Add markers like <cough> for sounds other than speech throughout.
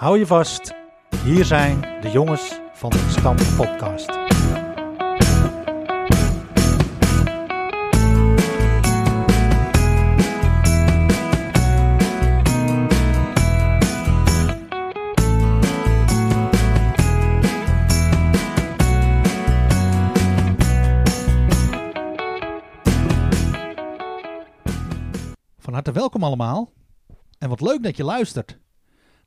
Hou je vast, hier zijn de jongens van de Stam Podcast. Van harte welkom allemaal en wat leuk dat je luistert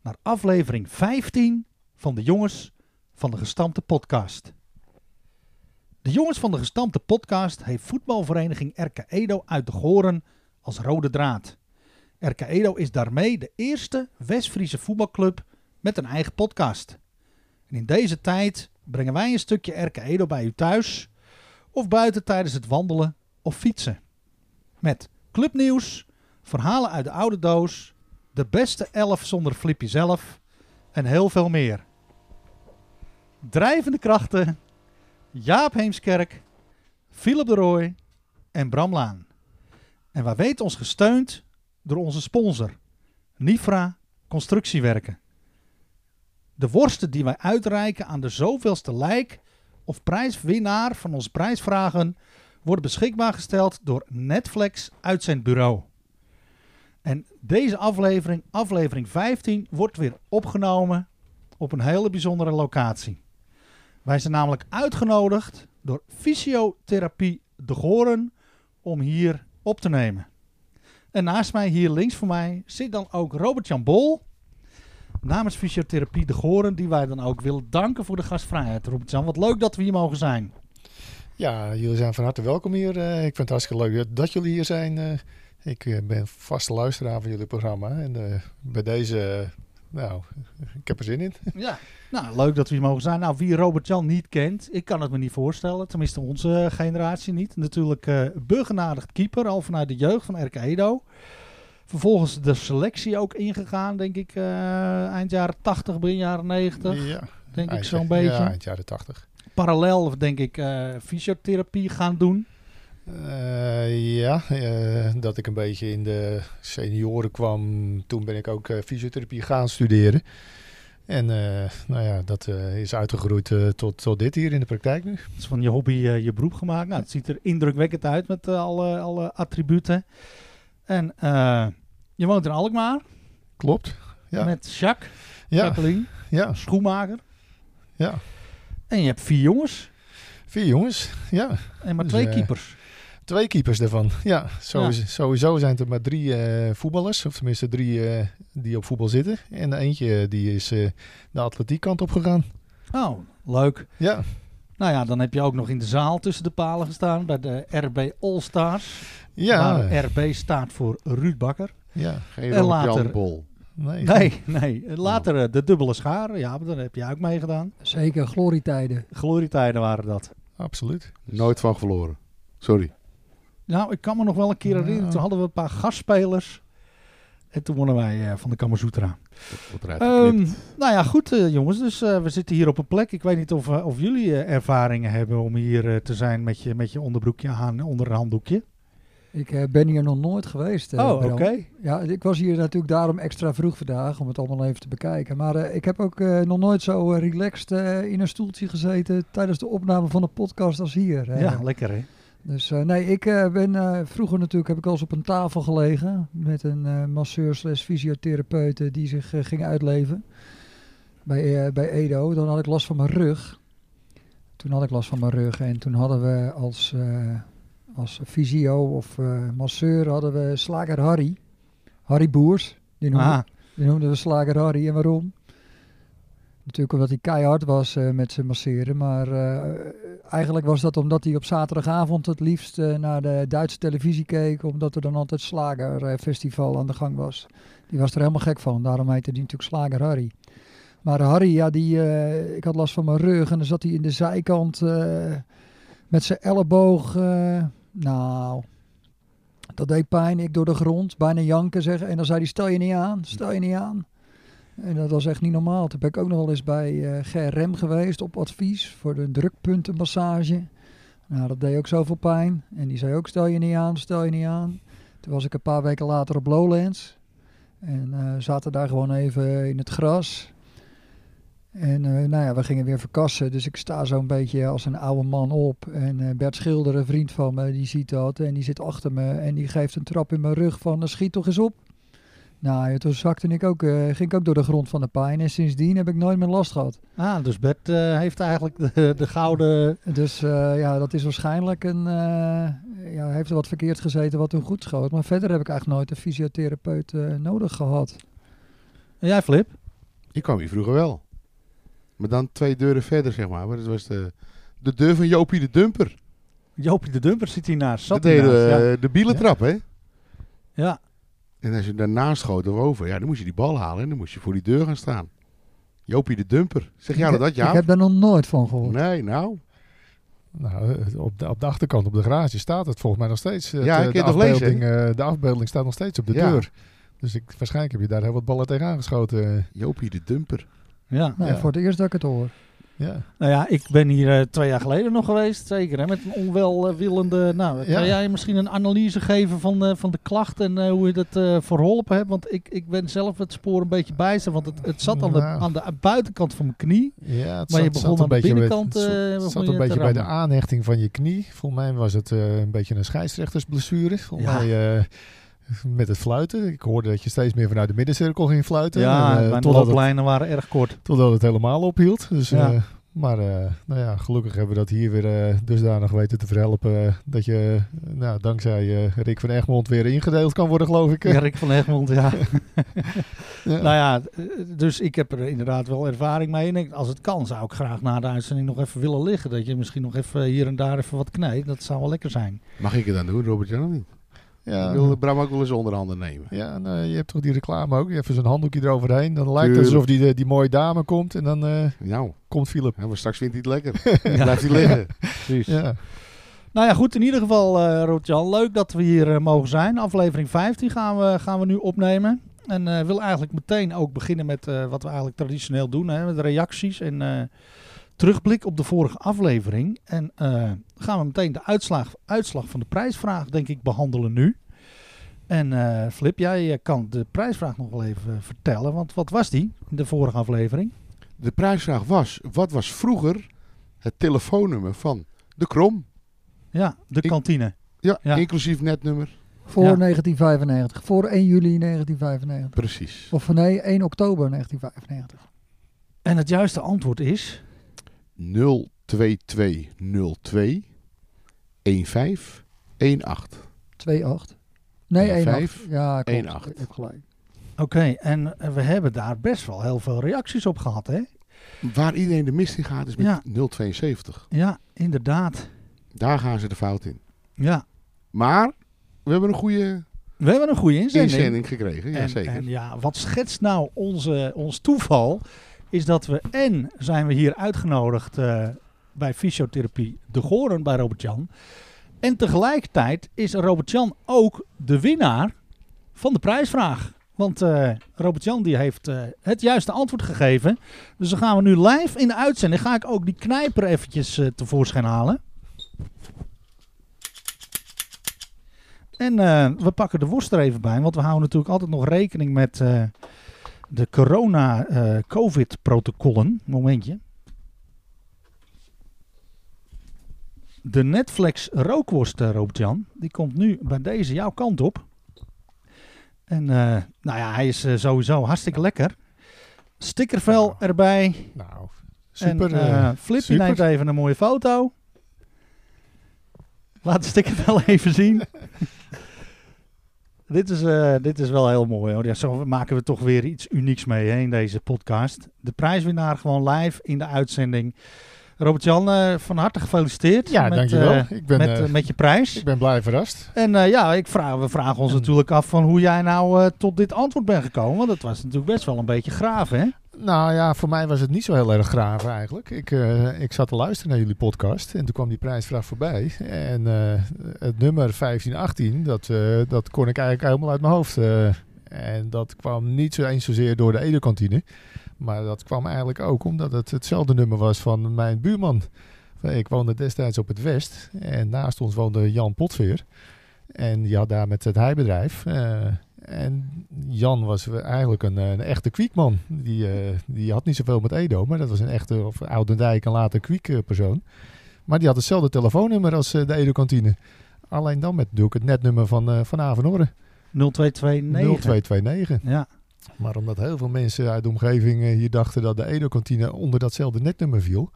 naar aflevering 15 van de Jongens van de Gestampte Podcast. De Jongens van de Gestampte Podcast heeft voetbalvereniging RK Edo uit de Goren als rode draad. RK Edo is daarmee de eerste West-Friese voetbalclub met een eigen podcast. En in deze tijd brengen wij een stukje RK Edo bij u thuis of buiten tijdens het wandelen of fietsen. Met clubnieuws, verhalen uit de oude doos, de beste elf zonder Flipje zelf en heel veel meer. Drijvende krachten, Jaap Heemskerk, Philip de Rooij en Bram Laan. En wij weten ons gesteund door onze sponsor, Nifra Constructiewerken. De worsten die wij uitreiken aan de zoveelste lijk of prijswinnaar van onze prijsvragen wordt beschikbaar gesteld door Netflix Uitzendbureau. En deze aflevering, aflevering 15, wordt weer opgenomen op een hele bijzondere locatie. Wij zijn namelijk uitgenodigd door Fysiotherapie De Goren om hier op te nemen. En naast mij, hier links van mij, zit dan ook Robert-Jan Bol. Namens Fysiotherapie De Goren, die wij dan ook willen danken voor de gastvrijheid. Robert-Jan, wat leuk dat we hier mogen zijn. Ja, jullie zijn van harte welkom hier. Eh, ik vind het hartstikke leuk dat, dat jullie hier zijn. Eh, ik eh, ben vaste luisteraar van jullie programma. En eh, bij deze, eh, nou, ik heb er zin in. Ja, nou leuk dat we hier mogen zijn. Nou, wie Robert-Jan niet kent, ik kan het me niet voorstellen. Tenminste, onze eh, generatie niet. Natuurlijk eh begenadigd keeper, al vanuit de jeugd van RK Edo. Vervolgens de selectie ook ingegaan, denk ik, eh, eind jaren 80, begin jaren 90. Ja, denk ik eind- zo'n beetje. Ja, eind jaren tachtig. Parallel, denk ik, eh, fysiotherapie gaan doen. Eh, ja, eh, dat ik een beetje in de senioren kwam. Toen ben ik ook eh, fysiotherapie gaan studeren. En eh, nou ja, dat eh, is uitgegroeid eh, tot, tot dit hier in de praktijk nu. Dat is van je hobby eh, je beroep gemaakt. Nou, het ziet er indrukwekkend uit met eh, alle, alle attributen. En eh, je woont in Alkmaar Klopt. Ja. met Jacques, Ja, Jacqueline, ja, schoenmaker. ja. En je hebt vier jongens Vier jongens. Ja, en maar Dus, twee eh, keepers. Twee keepers daarvan. <laughs> Ja, sowieso, Ja. sowieso zijn het er maar drie eh, voetballers. Of tenminste drie eh, die op voetbal zitten. En eentje eh, die is eh, de atletiekkant opgegaan. Oh, leuk. Ja, Nou ja, dan heb je ook nog in de zaal tussen de palen gestaan bij de RB All Stars. ja. Waar RB staat voor Ruud Bakker. ja. Geen En Rob later- Jan Bol. Nee. Nee, nee. Later eh, de dubbele schaar. Ja, maar daar heb jij ook mee gedaan. Zeker, glorietijden. Glorietijden waren dat. Absoluut. Nooit van verloren. Sorry. Nou, ik kan me nog wel een keer herinneren. Ja. Toen hadden we een paar gastspelers. En toen wonnen wij eh, van de Kamasutra. Wat eruit Ehm, geknipt. nou ja, goed eh, jongens. Dus eh, we zitten hier op een plek. Ik weet niet of, eh, of jullie eh, ervaringen hebben om hier eh, te zijn met je, met je onderbroekje aan onder een handdoekje. Ik eh, ben hier nog nooit geweest. eh, oh, oké. Bram. Ja, ik was hier natuurlijk daarom extra vroeg vandaag om het allemaal even te bekijken. Maar eh, ik heb ook eh, nog nooit zo eh, relaxed eh, in een stoeltje gezeten tijdens de opname van de podcast als hier. eh. Ja, lekker hè. Dus eh, nee, ik eh, ben eh, vroeger natuurlijk, heb ik al eens op een tafel gelegen met een eh, masseur slash fysiotherapeut die zich eh, ging uitleven bij, eh, bij Edo. Dan had ik last van mijn rug. Toen had ik last van mijn rug en toen hadden we als, eh, als fysio of eh, masseur hadden we slager Harry. Harry Boers, die noemde, Ah, die noemden we slager Harry. En waarom? Natuurlijk omdat hij keihard was eh, met zijn masseren. Maar eh, eigenlijk was dat omdat hij op zaterdagavond het liefst eh, naar de Duitse televisie keek. Omdat er dan altijd slagerfestival aan de gang was. Die was er helemaal gek van. Daarom heette die natuurlijk slager Harry. Maar Harry, ja, die, eh, ik had last van mijn rug. En dan zat hij in de zijkant eh, met zijn elleboog. eh, nou, dat deed pijn. Ik door de grond, bijna janken zeggen. En dan zei hij, stel je niet aan, stel je niet aan. En dat was echt niet normaal. Toen ben ik ook nog wel eens bij eh, Ger Rem geweest op advies voor de drukpuntenmassage. Nou, dat deed ook zoveel pijn. En die zei ook, stel je niet aan, stel je niet aan. Toen was ik een paar weken later op Lowlands. En eh, zaten daar gewoon even in het gras. En eh, nou ja, we gingen weer verkassen. Dus ik sta zo'n beetje als een oude man op. En eh, Bert Schilder, een vriend van me, die ziet dat. En die zit achter me. En die geeft een trap in mijn rug van, "Eh, schiet toch eens op. Nou, ja, toen zakte ik ook, eh, ging ik ook door de grond van de pijn. En sindsdien heb ik nooit meer last gehad. Ah, dus Bert eh, heeft eigenlijk de, de gouden... Dus eh, ja, dat is waarschijnlijk een... eh, ja, heeft er wat verkeerd gezeten wat toen goed schoot. Maar verder heb ik eigenlijk nooit een fysiotherapeut eh, nodig gehad. En jij, Flip? Ik kwam hier vroeger wel. Maar dan twee deuren verder, zeg maar. Maar dat was de, de deur van Jopie de Dumper. Joopie de Dumper zit hiernaast. Zat dat deed hiernaast, ja. eh, de bielentrap, hè? ja. En als je daarnaast schoot of over, ja, dan moest je die bal halen en dan moest je voor die deur gaan staan. Jopie de Dumper. Zeg jij nou Ik- dat, Jaap? Ik heb daar nog nooit van gehoord. Nee, nou. Nou, eh, op de, op de achterkant op de garage staat het volgens mij nog steeds. Het, Ja, eh, ik de, kan het nog lezen, afbeelding, eh, de afbeelding staat nog steeds op de Ja. deur. Dus ik, waarschijnlijk heb je daar heel wat ballen tegen aangeschoten. eh, Jopie de Dumper. Ja. Nou, Ja. Voor het eerst dat ik het hoor. Ja. Nou ja, ik ben hier eh, twee jaar geleden nog geweest, zeker. Hè, met een onwelwillende... Nou, Ja. kan jij misschien een analyse geven van, eh, van de klacht en eh, hoe je dat eh, verholpen hebt? Want ik, ik ben zelf het spoor een beetje bijster, want het, het zat aan de, Nou. aan de buitenkant van mijn knie. Ja, het Maar je zat- begon zat aan een de beetje met- binnenkant, het zat- eh, het begon zat je een te beetje bij de rammen. aanhechting van je knie. Volgens mij was het eh, een beetje een scheidsrechtersblessure. Volgens Ja. mij eh, met het fluiten. Ik hoorde dat je steeds meer vanuit de middencirkel ging fluiten. Ja, En, eh, mijn totdat, het, looplijnen waren erg kort. totdat het helemaal ophield. Dus, Ja. eh, maar eh, nou ja, gelukkig hebben we dat hier weer eh, dusdanig weten te verhelpen. eh, dat je eh, nou, dankzij eh, Rick van Egmond weer ingedeeld kan worden, geloof ik. Erik van Egmond, ja. <laughs> Ja. Nou ja, eh, dus ik heb er inderdaad wel ervaring mee. En ik- als het kan, zou ik graag na de uitzending nog even willen liggen. Dat je misschien nog even hier en daar even wat knijpt. Dat zou wel lekker zijn. Mag ik het dan doen, Robert-Jan? of niet? Ja. Ik wil Bram ook wel eens onder handen nemen. Ja, en, eh, je hebt toch die reclame ook? Even zo'n handdoekje eroverheen. Dan lijkt het alsof Tuurlijk. die, die mooie dame komt. En dan eh, Nou, komt Philip. hè, maar straks vindt hij het lekker. Dan Blijft hij liggen. Precies. Ja. Nou ja, goed. In ieder geval, eh Robert-Jan, leuk dat we hier eh, mogen zijn. Aflevering 15 gaan we, gaan we nu opnemen. En eh wil eigenlijk meteen ook beginnen met eh, wat we eigenlijk traditioneel doen. Hè, met reacties en eh, terugblik op de vorige aflevering. En eh, gaan we meteen de uitslag, uitslag van de prijsvraag, denk ik, behandelen nu. En eh, Flip, jij eh, kan de prijsvraag nog wel even eh, vertellen. Want wat was die in de vorige aflevering? De prijsvraag was, wat was vroeger het telefoonnummer van de Krom? Ja, de Ik- kantine. Ja, Ja. inclusief netnummer. Voor Ja. 1995. Voor 1 juli 1995. Precies. Of nee, 1 oktober 1995. En het juiste antwoord is... 02202 1518. 2-8. Nee, Ja, 1 vijf, Ja, klopt. 1-8. Ik heb gelijk. Oké, en eh, we hebben daar best wel heel veel reacties op gehad, hè? Waar iedereen de mist in gaat is met Ja. 072. Ja, inderdaad. Daar gaan ze de fout in. Ja, Maar we hebben een goede we hebben een goede inzending. inzending gekregen. Ja, en, zeker. en ja, wat schetst nou onze, ons toeval, is dat we en zijn we hier uitgenodigd eh, bij fysiotherapie De Goren bij Robert-Jan. En tegelijkertijd is Robert-Jan ook de winnaar van de prijsvraag. Want eh, Robert-Jan die heeft eh, het juiste antwoord gegeven. Dus dan gaan we nu live in de uitzending. Ga ik ook die knijper eventjes eh, tevoorschijn halen. En eh, we pakken de worst er even bij. Want we houden natuurlijk altijd nog rekening met eh, de corona-covid-protocollen. Momentje. De Netflix rookworst, eh, Robert-Jan, die komt nu bij deze jouw kant op. En eh, nou ja, hij is eh, sowieso hartstikke lekker. Stickervel Ja. erbij. Nou, super. En, eh, eh, Flip, je super. neemt even een mooie foto. Laat de sticker <laughs> wel even zien. dit, is, eh, dit is wel heel mooi. Hoor. Ja, zo maken we toch weer iets unieks mee hè, in deze podcast. De prijswinnaar gewoon live in de uitzending. Robert-Jan, eh, van harte gefeliciteerd ja, met, dankjewel. eh, ik, ben, met, eh, eh, met je prijs. ik ben blij verrast. En eh, ja, ik vraag, we vragen ons En- natuurlijk af van hoe jij nou eh, tot dit antwoord bent gekomen. Want het was natuurlijk best wel een beetje graaf, hè? Nou ja, voor mij was het niet zo heel erg graaf eigenlijk. Ik, eh, ik zat te luisteren naar jullie podcast en toen kwam die prijsvraag voorbij. En eh, het nummer 1518, dat, eh, dat kon ik eigenlijk helemaal uit mijn hoofd. eh. en dat kwam niet zo eens zozeer door de Edekantine. Maar dat kwam eigenlijk ook omdat het hetzelfde nummer was van mijn buurman. Ik woonde destijds op het West en naast ons woonde Jan Potveer. En die had daar met het heibedrijf. eh, En Jan was we- eigenlijk een, eh, een echte kwiekman. Die, eh, die had niet zoveel met Edo, maar dat was een echte, of Oudendijk en later kwiek eh, persoon. Maar die had hetzelfde telefoonnummer als eh, de Edo-kantine. Alleen dan met natuurlijk het netnummer van, eh van Avenhoorn. 0229. 0229. Ja, Maar omdat heel veel mensen uit de omgeving eh, hier dachten dat de Edo-kantine onder datzelfde netnummer viel,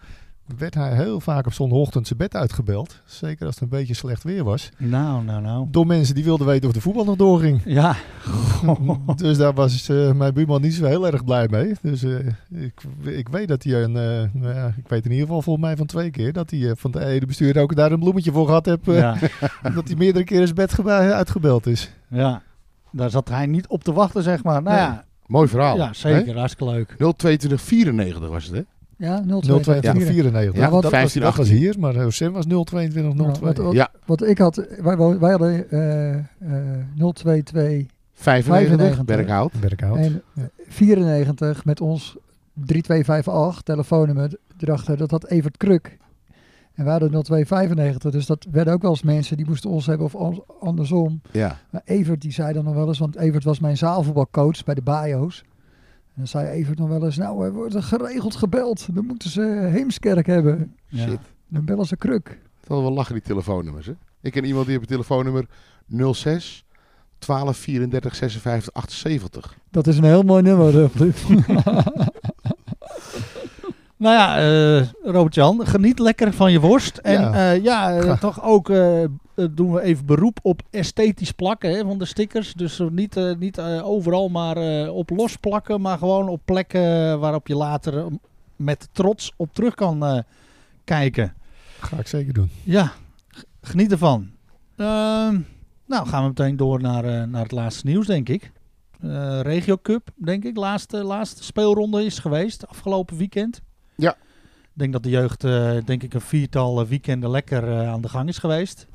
werd hij heel vaak op zondagochtend zijn bed uitgebeld. Zeker als het een beetje slecht weer was. nou, nou, nou. Door mensen die wilden weten of de voetbal nog doorging. Ja, <laughs> Dus daar was eh, mijn buurman niet zo heel erg blij mee. Dus eh, ik, ik weet dat hij een, eh, nou ja, ik weet in ieder geval volgens mij van twee keer, dat hij eh, van de Edo-bestuurder ook daar een bloemetje voor gehad heeft. eh, ja, <laughs> Dat hij meerdere keren zijn bed gebe- uitgebeld is. ja. Daar zat hij niet op te wachten, zeg maar. Nou ja, Mooi Oh, verhaal. ja zeker. Hartstikke leuk. 02294 was het, hè? Ja, 0224. 0294. Ja, wat- dat, was, dat 1518. was hier, maar eh, Sim was 022402. Wat, wat, Ja. wat ik had, wij, wo- wij hadden eh eh 022 95, 95. Berkhout. Berkhout. en 94 met ons 3258 telefoonnummer erachter. Dat had Evert Kruk. En wij hadden 0295, dus dat werden ook wel eens mensen die moesten ons hebben of an- andersom. Ja. Maar Evert die zei dan nog wel eens, want Evert was mijn zaalvoetbalcoach bij de Bajo's. En dan zei Evert nog wel eens, nou we worden geregeld gebeld. Dan moeten ze Heemskerk hebben. Ja. Shit. Dan bellen ze Kruk. Het hadden wel lachen, die telefoonnummers, hè? Ik ken iemand die heeft een telefoonnummer 06 12 34 56 78. Dat is een heel mooi nummer, eh, Flip. Nou ja, eh Robert-Jan, geniet lekker van je worst. En Ja. ja, ja eh, Graag. toch ook eh, eh, doen we even beroep op esthetisch plakken hè, van de stickers. Dus eh, niet, eh, niet eh, overal maar eh, op los plakken, maar gewoon op plekken waarop je later eh, met trots op terug kan eh, kijken. Ga ik zeker doen. Ja, g- geniet ervan. Ehm, nou, gaan we meteen door naar, eh, naar het laatste nieuws, denk ik. Eh Regio Cup, denk ik. Laatste, laatste speelronde is geweest afgelopen weekend. Ja. Ik denk dat de jeugd, eh, denk ik, een viertal eh, weekenden lekker eh, aan de gang is geweest.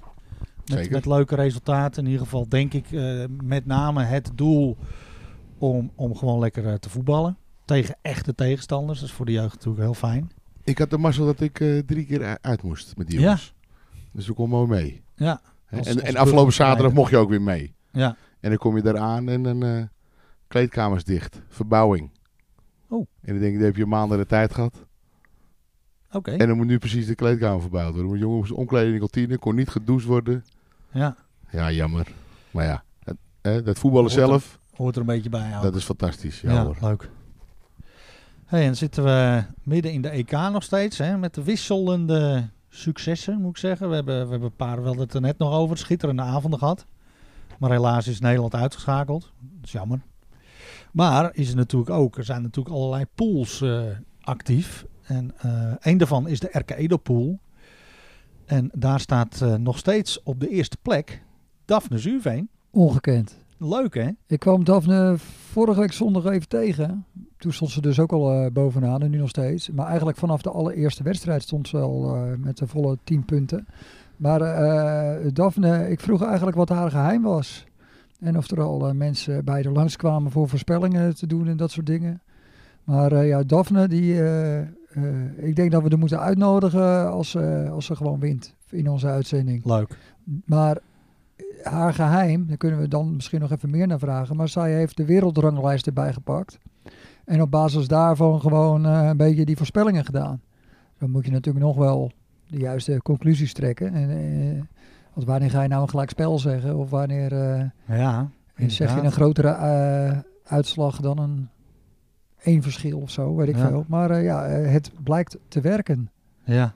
Met, Zeker. met leuke resultaten. In ieder geval, denk ik, eh, met name het doel om, om gewoon lekker eh, te voetballen. Tegen echte tegenstanders. Dat is voor de jeugd natuurlijk heel fijn. Ik had de mazzel dat ik eh, drie keer u- uit moest met die Ja. jongens. Dus toen kon mooi mee. Ja, Hè? Als- en, als en afgelopen zaterdag burgerleider. mocht je ook weer mee. ja. En dan kom je daaraan en dan eh, kleedkamers dicht. Verbouwing. Oh. En dan denk ik, dan heb je maanden de tijd gehad. oké. En dan moet nu precies de kleedkamer verbouwd worden. Want jongen moest omkleden in de kantine, kon niet gedoucht worden. Ja, Ja, jammer. Maar ja, het, hè, dat voetballen Hoort er- zelf, hoort er een beetje bij. ja. dat is fantastisch. Ja, Oh. Ja, hoor. leuk. Hey, en dan zitten we midden in de EK nog steeds, hè, met de wisselende successen, moet ik zeggen. We hebben, we hebben een paar, wel het er net nog over, schitterende avonden gehad. Maar helaas is Nederland uitgeschakeld. Dat is jammer. Maar is er, natuurlijk ook, er zijn natuurlijk allerlei pools eh, actief. En eh een daarvan is de RK Edo pool. En daar staat eh, nog steeds op de eerste plek Daphne Zuurveen. Ongekend. Leuk, hè? Ik kwam Daphne vorige week zondag even tegen. Toen stond ze dus ook al eh, bovenaan en nu nog steeds. Maar eigenlijk vanaf de allereerste wedstrijd stond ze al eh, met de volle 10 punten. Maar eh Daphne, ik vroeg eigenlijk wat haar geheim was. En of er al eh, mensen bij haar langskwamen voor voorspellingen te doen en dat soort dingen. Maar eh, ja, Daphne, die, eh, eh, ik denk dat we er moeten uitnodigen als, ze- als ze gewoon wint in onze uitzending. Leuk. Maar eh, haar geheim, daar kunnen we dan misschien nog even meer naar vragen. Maar zij heeft de wereldranglijst erbij gepakt. En op basis daarvan gewoon eh, een beetje die voorspellingen gedaan. Dan moet je natuurlijk nog wel de juiste conclusies trekken. En, eh, want wanneer ga je nou een gelijk spel zeggen? Of wanneer eh, Ja, zeg je inderdaad. een grotere eh, uitslag dan een één verschil of zo? Weet ik Ja. veel. Maar eh, ja, eh, het blijkt te werken. Ja.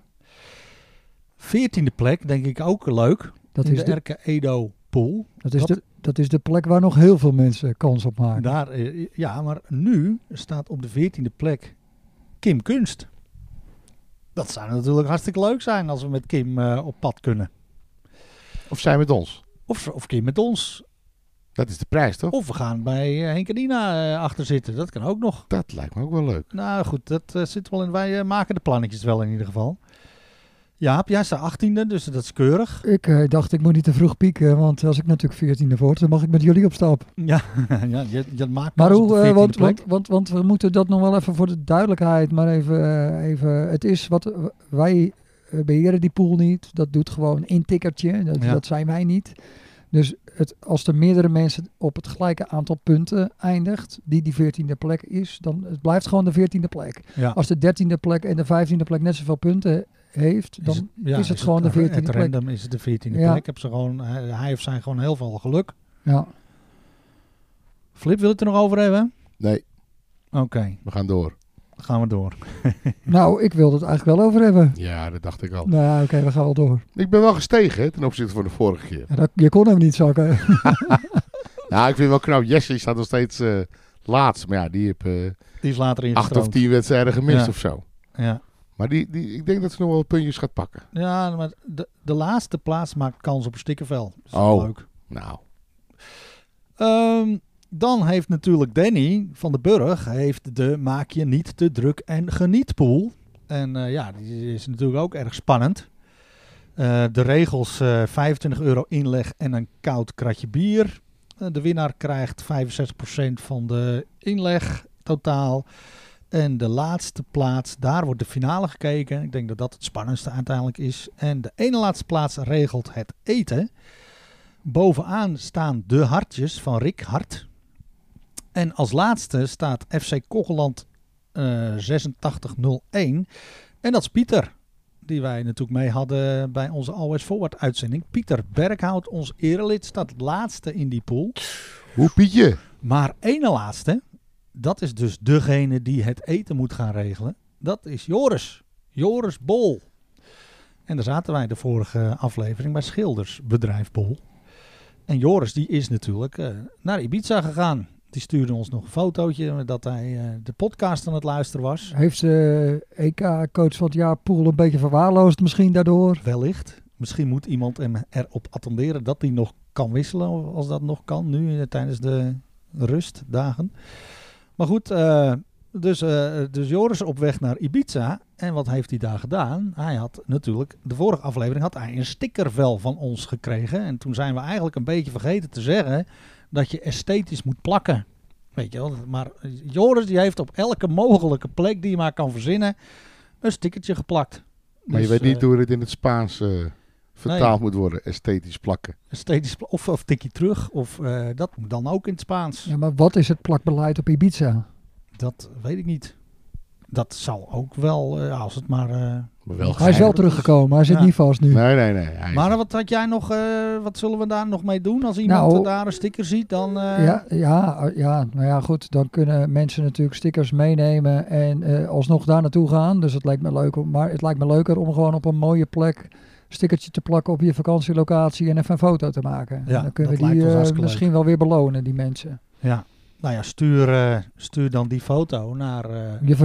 Veertiende plek, denk ik ook leuk. Dat in is, de, de, Erke Edo Pool. dat, is dat- de, dat is de plek waar nog heel veel mensen kans op maken. Daar, eh, ja, maar nu staat op de veertiende plek Kim Kunst. Dat zou natuurlijk hartstikke leuk zijn als we met Kim eh, op pad kunnen. Of zij met ons. Oh. Of, of Kim met ons. Dat is de prijs, toch? Of we gaan bij eh, Henk en Ina eh, achter zitten. Dat kan ook nog. Dat lijkt me ook wel leuk. Nou goed, dat eh, zit wel in. Wij eh, maken de plannetjes wel in ieder geval. Jaap, jij staat achttiende, dus dat is keurig. <laughs> Ik eh, dacht, ik moet niet te vroeg pieken, want als ik natuurlijk 14e word, dan mag ik met jullie op stap. Ja, ja je, je maakt Maar kans op hoe, de eh, 14e want, plek. want, want, want we moeten dat nog wel even voor de duidelijkheid, maar even, eh, even het is wat wij eh, beheren die pool niet. Dat doet gewoon een tikkertje, dat, Ja. dat zijn wij niet. Dus het, als er meerdere mensen op het gelijke aantal punten eindigt, die die veertiende plek is, dan het blijft gewoon de veertiende plek. Ja. Als de dertiende plek en de vijftiende plek net zoveel punten heeft, dan ja, is het gewoon de 14e Het plek. random is het de 14e Ja. plek. Heb ze gewoon, hij hij of zij gewoon heel veel geluk. ja. Flip, wil je het er nog over hebben? Nee, Oké, we gaan door. dan gaan we door. Nou, ik wilde het eigenlijk wel over hebben. Ja, dat dacht ik Oh. al. Nou ja, oké, we gaan wel door. Ik ben wel gestegen hè, ten opzichte van de vorige <laughs> keer. Ja, dat, je kon hem niet zakken. Nou, ik vind het wel knap. Jesse staat nog steeds eh laatst. Maar ja, die heeft eh, Die is later acht of ingestroomd. tien wedstrijden gemist Ja. of zo. Ja, Maar die, die, ik denk dat ze nog wel wat puntjes gaat pakken. ja maar de, de laatste plaats maakt kans op een stikkervel. Dat is Oh. leuk. Nou, Ehm, dan heeft natuurlijk Danny van den Burg heeft de maak je niet te druk en genietpool. En eh, ja, die is natuurlijk ook erg spannend. Eh, de regels eh, 25 euro inleg en een koud kratje bier. Eh, de winnaar krijgt 65% van de inleg totaal. En de laatste plaats, daar wordt de finale gekeken. Ik denk dat dat het spannendste uiteindelijk is. En de ene laatste plaats regelt het eten. Bovenaan staan de hartjes van Rick Hart. En als laatste staat FC Kocheland eh 8601. En dat is Pieter, die wij natuurlijk mee hadden bij onze Always Forward uitzending. Pieter Berghout, ons erelid, staat laatste in die pool. hoe Pietje? Maar ene laatste, dat is dus degene die het eten moet gaan regelen. Dat is Joris. Joris Bol. En daar zaten wij de vorige aflevering bij Schildersbedrijf Bol. En Joris die is natuurlijk eh, naar Ibiza gegaan. Die stuurde ons nog een fotootje dat hij eh, de podcast aan het luisteren was. Heeft de EK-coach van het jaar Poel een beetje verwaarloosd misschien daardoor? Wellicht. Misschien moet iemand hem erop attenderen dat hij nog kan wisselen, als dat nog kan, nu eh, tijdens de rustdagen. Maar goed, eh, dus, eh, dus Joris op weg naar Ibiza. En wat heeft hij daar gedaan? Hij had natuurlijk, de vorige aflevering had hij een stickervel van ons gekregen. En toen zijn we eigenlijk een beetje vergeten te zeggen dat je esthetisch moet plakken. Weet je wel, maar Joris die heeft op elke mogelijke plek die je maar kan verzinnen een stickertje geplakt. Maar je Dus, weet niet eh, hoe het in het Spaans eh, vertaald moet worden. Esthetisch plakken. Stedisch, pla- of, of tikkie terug, of eh, dat moet dan ook in het Spaans. Ja, maar wat is het plakbeleid op Ibiza? Dat weet ik niet. Dat zal ook wel, eh, als het maar... eh, Maar wel Hij is wel geheim. teruggekomen, hij zit Ja. niet vast nu. Nee, nee, nee. Hij is- Maar wat had jij nog, eh, wat zullen we daar nog mee doen? Als iemand Nou, eh, daar een sticker ziet, dan... eh, Ja, ja, ja, nou ja, goed. Dan kunnen mensen natuurlijk stickers meenemen en eh, alsnog daar naartoe gaan. Dus het lijkt me leuk om, maar het lijkt me leuker om gewoon op een mooie plek stickertje te plakken op je vakantielocatie en even een foto te maken. Ja, dan kunnen dat we die lijkt ons eh, hartstikke leuk. misschien wel weer belonen, die mensen. ja. Nou ja, stuur, eh, stuur dan die foto naar... eh, Je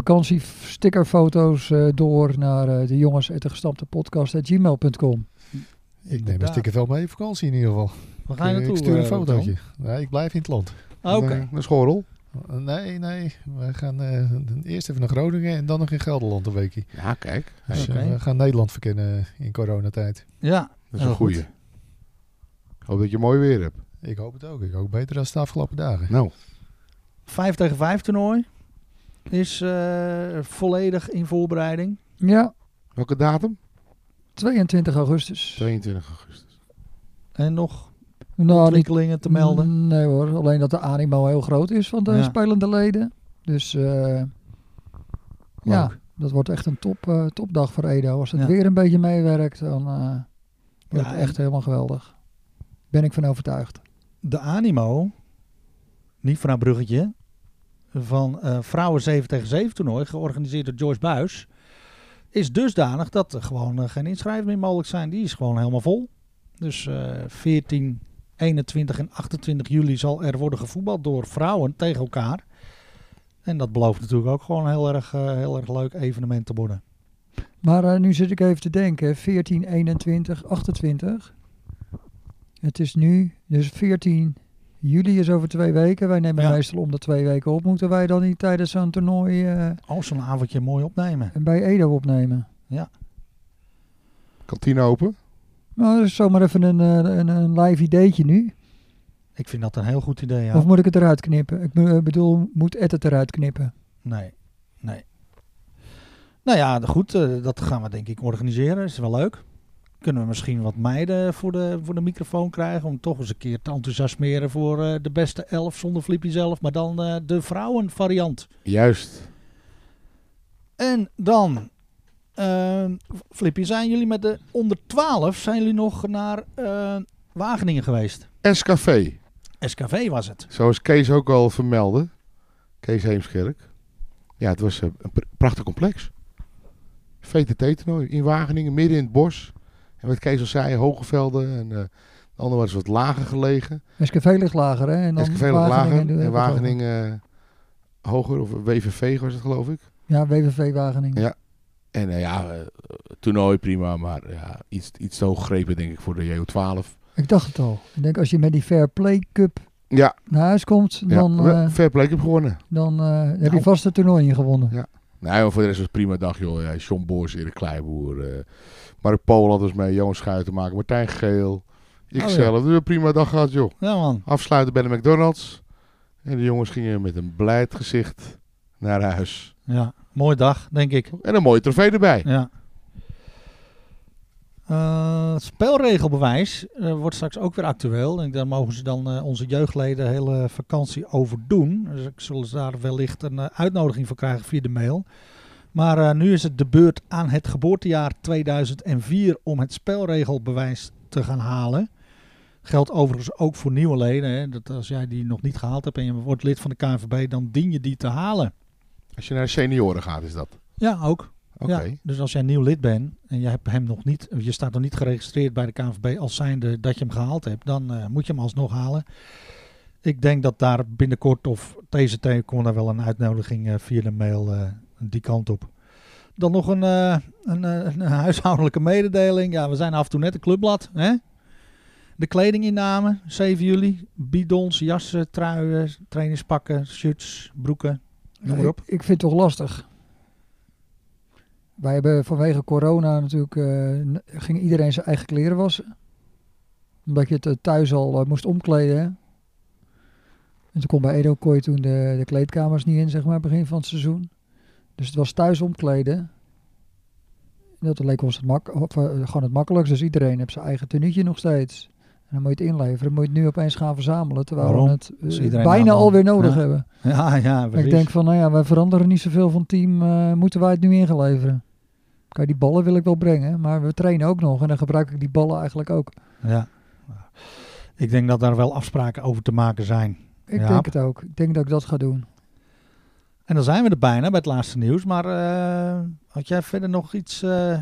vakantiestickerfoto's eh, door naar eh, de jongens uit de gestampte podcast at gmail.com. Ik neem een Inderdaad. sticker wel mee op vakantie in ieder geval. Waar ga je Ik- naartoe? Ik stuur een eh, fotootje. Nee, ik blijf in het land. Eh, Tom? Ah, Oké. Een, eh, Een schorrel. Nee, nee. We gaan eh, eerst even naar Groningen en dan nog in Gelderland een weekje. Ja, kijk. Dus eh, Oké. we gaan Nederland verkennen in coronatijd. Ja, Dat is Heel een goeie. goed. Ik hoop dat je mooi weer hebt. Ik hoop het ook. Ik hoop beter dan de afgelopen dagen. Nou, 5 tegen 5 toernooi is eh, volledig in voorbereiding. Ja, welke datum? 22 augustus. 22 augustus. En nog Nou, niet Mm, ontwikkelingen te melden. Nee hoor, alleen dat de animo heel groot is van de Ja. spelende leden. Dus eh, ja, dat wordt echt een top, eh, topdag voor Edo. Als het Ja. weer een beetje meewerkt, dan eh, wordt Ja, het echt helemaal geweldig. Ben ik van overtuigd. de animo, niet van een bruggetje, van eh, vrouwen 7 tegen 7 toernooi, georganiseerd door Joyce Buis, is dusdanig dat er gewoon eh, geen inschrijvingen meer mogelijk zijn. Die is gewoon helemaal vol. Dus eh 14, 21 en 28 juli zal er worden gevoetbald door vrouwen tegen elkaar. En dat belooft natuurlijk ook gewoon een heel erg, eh, heel erg leuk evenement te worden. Maar eh, nu zit ik even te denken, 14, 21, 28. Het is nu, dus 14 juli is over twee weken. Wij nemen Ja. meestal om de twee weken op. Moeten wij dan niet tijdens zo'n toernooi eh, Oh, zo'n avondje mooi opnemen. bij Edo opnemen? Kantine open. Nou, dat is zomaar even een, eh, een, een live ideetje nu. Ik vind dat een heel goed idee. Ja. Of moet ik het eruit knippen? Ik be- eh, bedoel, moet Ed het eruit knippen? Nee, nee. Nou ja, de- goed, eh, dat gaan we denk ik organiseren. Is wel leuk. Kunnen we misschien wat meiden voor de, voor de microfoon krijgen? Om toch eens een keer te enthousiasmeren voor eh, de beste elf zonder Flippy zelf. Maar dan eh, de vrouwenvariant. Juist. En dan, eh, Flippy, zijn jullie met de onder 12 zijn jullie nog naar eh, Wageningen geweest? SKV. SKV was het. Zoals Kees ook al vermeldde. Kees Heemskerk. Ja, het was eh, een pr- prachtig complex. VTT-toernooi in Wageningen, midden in het bos. En wat Kees al zei, hoge velden. En eh de andere was wat lager gelegen. SKV ligt lager, hè? En dan SKV lag lager doe- en wat hoger. Wageningen eh, hoger. Of WVV was het geloof ik. Ja, WVV Wageningen. Ja. En eh, ja, eh, toernooi prima, maar ja, iets, iets te hoog gegrepen denk ik voor de JO12. Ik dacht het al. Ik denk als je met die Fair Play Cup Ja, naar huis komt, ja. dan, we- eh, fair play ik heb gewonnen. dan eh, heb Nou. je vast het toernooi gewonnen. Ja. Nou, maar voor de rest was het prima dag, joh. Ja, John Boers, Erik Kleiboer, eh, Mark Poland was mee, Johan Schuiten maken, Martijn Oh, Geel, ikzelf. Dus een prima dag gehad, joh. Ja man, Afsluiten bij de McDonald's. En de jongens gingen met een blijd gezicht naar huis. ja. Mooi dag, denk ik. En een mooie trofee erbij. Ja. Eh, het spelregelbewijs eh, wordt straks ook weer actueel. En daar mogen ze dan eh, onze jeugdleden de hele vakantie over doen. Dus ik zal ze daar wellicht een eh, uitnodiging voor krijgen via de mail. Maar eh, nu is het de beurt aan het geboortejaar 2004 om het spelregelbewijs te gaan halen. Geldt overigens ook voor nieuwe leden. Hè? Dat als jij die nog niet gehaald hebt en je wordt lid van de KNVB, dan dien je die te halen. Als je naar de senioren gaat, is dat. Ja, ook. Oké. Ja, dus als jij nieuw lid bent en je hebt hem nog niet, je staat nog niet geregistreerd bij de KNVB als zijnde dat je hem gehaald hebt, dan eh, moet je hem alsnog halen. Ik denk dat daar binnenkort of TCT komt daar wel een uitnodiging eh, via de mail eh, die kant op. Dan nog een, eh, een, eh, een huishoudelijke mededeling. Ja, we zijn af en toe net een clubblad. Hè? De kledinginname, 7 juli. Bidons, jassen, truien, trainingspakken, shirts, broeken. <laughs> Noem maar op. Ik, ik vind het toch lastig. Wij hebben vanwege corona natuurlijk, eh, n- ging iedereen zijn eigen kleren wassen. Omdat je het eh, thuis al eh, moest omkleden. hè. En toen kon bij Edo Kooi toen de, de kleedkamers niet in, zeg maar, begin van het seizoen. Dus het was thuis omkleden. En Dat leek ons het mak of, eh, gewoon het makkelijkst. Dus iedereen heeft zijn eigen tenuutje nog steeds. En dan moet je het inleveren. moet je het nu opeens gaan verzamelen. Terwijl Waarom? we het eh, Als iedereen bijna allemaal- alweer nodig Ja. hebben. Ja, ja, Maar precies. ik denk van, nou ja, wij veranderen niet zoveel van team. eh, moeten wij het nu ingeleveren? Kijk, die ballen wil ik wel brengen, maar we trainen ook nog. En dan gebruik ik die ballen eigenlijk ook. Ja. Ik denk dat daar wel afspraken over te maken zijn. Ik Ja. denk het ook. Ik denk dat ik dat ga doen. En dan zijn we er bijna bij het laatste nieuws. Maar eh, had jij verder nog iets? eh,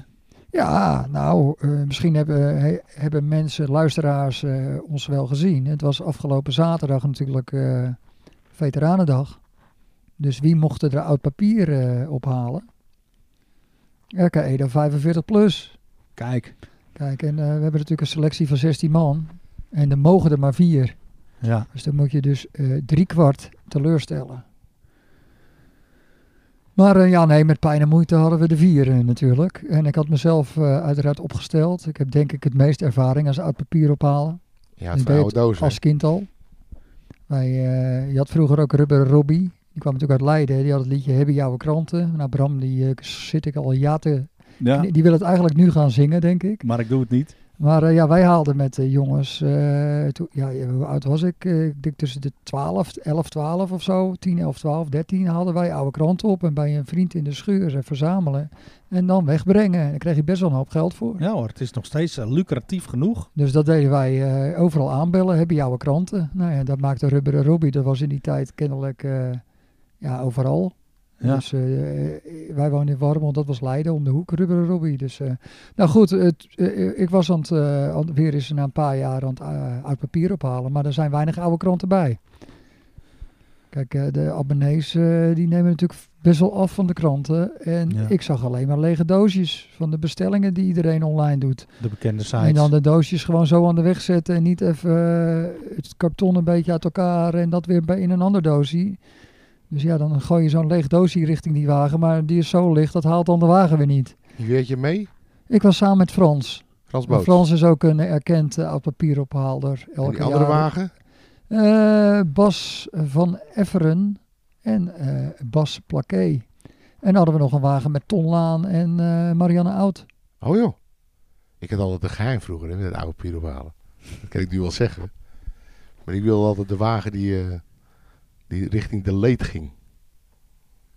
Ja, nou, eh, misschien hebben, he- hebben mensen, luisteraars, eh, ons wel gezien. Het was afgelopen zaterdag natuurlijk eh, Veteranendag. Dus wie mocht er oud papier eh, ophalen? RK Edo 45 plus. Kijk. Kijk, en eh, we hebben natuurlijk een selectie van 16 man. En er mogen er maar vier. Ja. Dus dan moet je dus eh drie kwart teleurstellen. Maar eh, ja, nee, met pijn en moeite hadden we de vier eh, natuurlijk. En ik had mezelf eh, uiteraard opgesteld. Ik heb denk ik het meest ervaring als oud papier ophalen. Ja, het Ik deed van oude doos. hè. Als kind al. Wij, eh, je had vroeger ook Rubber Robbie. Die kwam natuurlijk uit Leiden. Die had het liedje Hebben jouw kranten. Nou Bram, die eh, zit ik al ja te... ja, Die, die wil het eigenlijk nu gaan zingen, denk ik. maar ik doe het niet. Maar eh, ja, wij haalden met de jongens, eh, toen- ja, ja, hoe oud was ik? Eh, ik denk tussen de 12, 11, 12 of zo, 10, 11, 12, 13 haalden wij oude kranten op en bij een vriend in de schuur eh, verzamelen en dan wegbrengen. En daar kreeg je best wel een hoop geld voor. Ja hoor, het is nog steeds eh, lucratief genoeg. Dus dat deden wij eh, overal aanbellen, heb je oude kranten? Nou ja, dat maakte Rubber en Robbie, dat was in die tijd kennelijk eh, ja, overal. Ja. Dus eh, wij wonen in Warmond, dat was Leiden om de hoek, Rubber en Robbie. Dus, eh, nou goed, het, eh, ik was aan het, eh, aan- weer eens na een paar jaar aan het eh, uit papier ophalen, maar er zijn weinig oude kranten bij. Kijk, eh, de abonnees eh, die nemen natuurlijk best wel af van de kranten. En Ja. ik zag alleen maar lege doosjes van de bestellingen die iedereen online doet. De bekende sites. En dan de doosjes gewoon zo aan de weg zetten en niet even eh, het karton een beetje uit elkaar en dat weer bij in een ander doosje. Dus ja, dan gooi je zo'n leeg doosje richting die wagen, maar die is zo licht, dat haalt dan de wagen weer niet. Wie weet je mee? Ik was samen met Frans. Frans En Boos. Frans is ook een erkend eh, oud papierophaalder. en Elke die andere jaar. wagen? Eh, Bas van Efferen en eh, Bas Plaquet. En dan hadden we nog een wagen met Ton Laan en eh, Marianne Oud. Oh joh. Ik had altijd een geheim vroeger hè, met het oude pyrohalen. Dat kan ik nu wel zeggen. Maar ik wilde altijd de wagen die, eh, die richting de leed ging.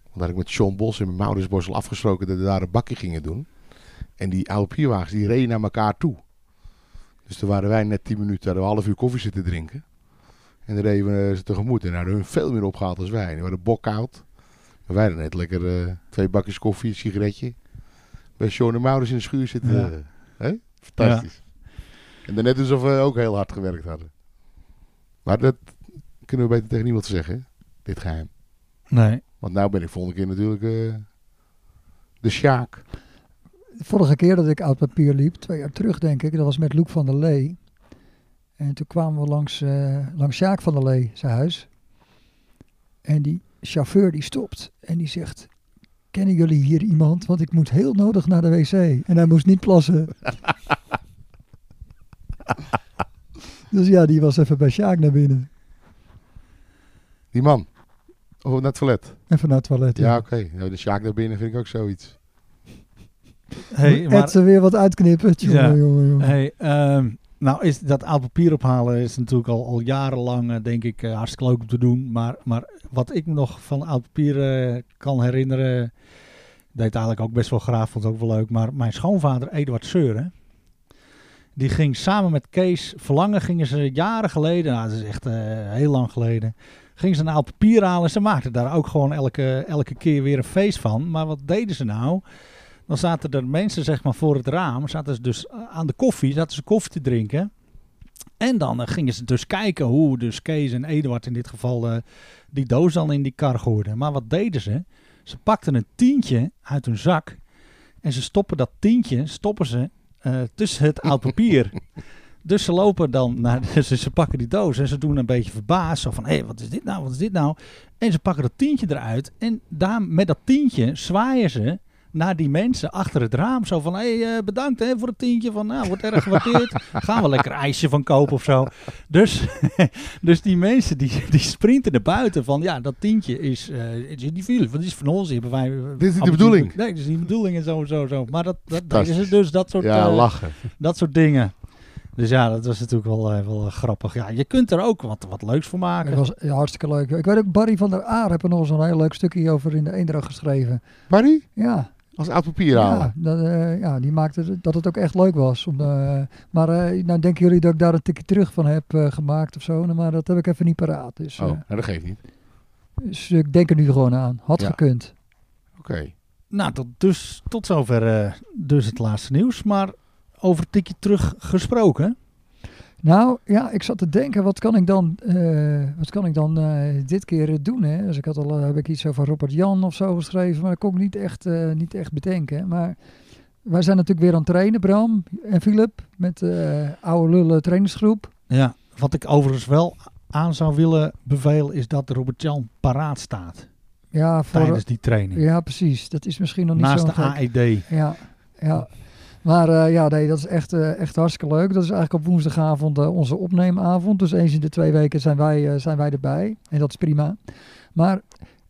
Want daar had ik met Sean Bos en met Maurits Bos al afgesproken dat we daar een bakje gingen doen. En die oude pierwagens die reden naar elkaar toe. Dus toen waren wij net 10 minuten, hadden we een half uur koffie zitten drinken. En dan reden we eh, ze tegemoet. En daar hadden hun veel meer opgehaald als wij. En die waren bokoud. En wij dan net lekker eh, twee bakjes koffie, een sigaretje. Bij Sean en Maurits in de schuur zitten. Ja. eh, hè? Fantastisch. En dan net alsof we ook heel hard gewerkt hadden. Maar dat kunnen we beter tegen niemand zeggen, hè? dit geheim. Nee. Want nou ben ik volgende keer natuurlijk eh, de Sjaak. De vorige keer dat ik oud papier liep, twee jaar terug denk ik, dat was met Loek van der Lee. En toen kwamen we langs, eh langs Sjaak van der Lee, zijn huis. En die chauffeur die stopt en die zegt, kennen jullie hier iemand? Want ik moet heel nodig naar de wc. En hij moest niet <laughs> plassen. dus ja, die was even bij Sjaak naar binnen. Die man. Of naar het toilet. Even naar het toilet. Ja, oké. Nou, de Sjaak daar binnen vind ik ook zoiets. Hey, maar, Ed ze weer wat uitknippen. Jongen, Ja. jongen, jongen. hey, ehm, nou, is dat oud papier ophalen is natuurlijk al, al jarenlang, eh, denk ik, eh, hartstikke leuk om te doen. Maar, maar wat ik me nog van oud papier eh, kan herinneren, deed eigenlijk ook best wel graag, vond het ook wel leuk. Maar mijn schoonvader, Eduard Seuren, die ging samen met Kees Verlangen, gingen ze jaren geleden, nou, dat is echt eh, heel lang geleden, gingen ze een oud papier halen en ze maakten daar ook gewoon elke, elke keer weer een feest van. Maar wat deden ze nou? Dan zaten er mensen zeg maar voor het raam, zaten ze dus eh, aan de koffie, zaten ze koffie te drinken. En dan eh, gingen ze dus kijken hoe dus Kees en Eduard in dit geval eh, die doos dan in die kar gooiden. Maar wat deden ze? Ze pakten een tientje uit hun zak en ze stoppen dat tientje stoppen ze eh, tussen het oud <laughs> papier. Dus ze lopen dan naar, <laughs> ze, ze pakken die doos en ze doen een beetje verbaasd. Zo van, hé, wat is dit nou, wat is dit nou? En ze pakken dat tientje eruit en daar, met dat tientje zwaaien ze naar die mensen achter het raam. Zo van, hé, eh, bedankt hè, voor het tientje. Van, nou, wordt erg gewaardeerd. <laughs> Gaan we lekker ijsje van kopen of zo. Dus, <laughs> dus die mensen, die, die sprinten naar buiten van, ja, dat tientje is, eh, het is niet veel. Want dit is van ons. die Hebben wij, eh, Dit is niet de bedoeling. Nee, dit is niet de bedoeling en zo en zo en zo. Maar dat, dat deden Fantastisch. ze dus, dat soort... ja, eh, lachen. dat soort dingen. Dus ja, dat was natuurlijk wel, eh, wel eh, grappig. Ja, je kunt er ook wat, wat leuks voor Dat maken. was ja, hartstikke leuk. Ik weet ook, Barry van der Aar heeft er nog eens een heel leuk stukje over in de Eendracht geschreven. Barry, Ja, als oud papier halen. ja, dat, eh, ja die maakte het- dat het ook echt leuk was. Om, eh, maar eh, nou denken jullie dat ik daar een tikje terug van heb eh, gemaakt of zo? Nou, Maar dat heb ik even niet paraat. Dus, Oh, eh, nou, dat geeft niet. dus ik denk er nu gewoon aan. Had Ja. gekund. Oké. Nou, tot, dus, tot zover eh, dus het laatste nieuws. Maar over een tikje terug gesproken. Nou ja, ik zat te denken, wat kan ik dan, eh, wat kan ik dan eh, dit keer eh, doen? Hè? Dus ik had al, eh, heb ik iets over Robert Jan of zo geschreven, maar dat kon ik niet echt, eh, niet echt bedenken. Maar wij zijn natuurlijk weer aan het trainen, Bram en Philip, met de oude lullen trainingsgroep. Ja, wat ik overigens wel aan zou willen bevelen is dat Robert-Jan paraat staat Ja, voor, tijdens die training. ja, precies. Dat is misschien nog niet Naast zo'n de E gek- AED. Ja, ja. Maar eh, ja, nee, dat is echt, eh, echt hartstikke leuk. Dat is eigenlijk op woensdagavond eh, onze opneemavond. Dus eens in de twee weken zijn wij, eh, zijn wij erbij. En dat is prima. Maar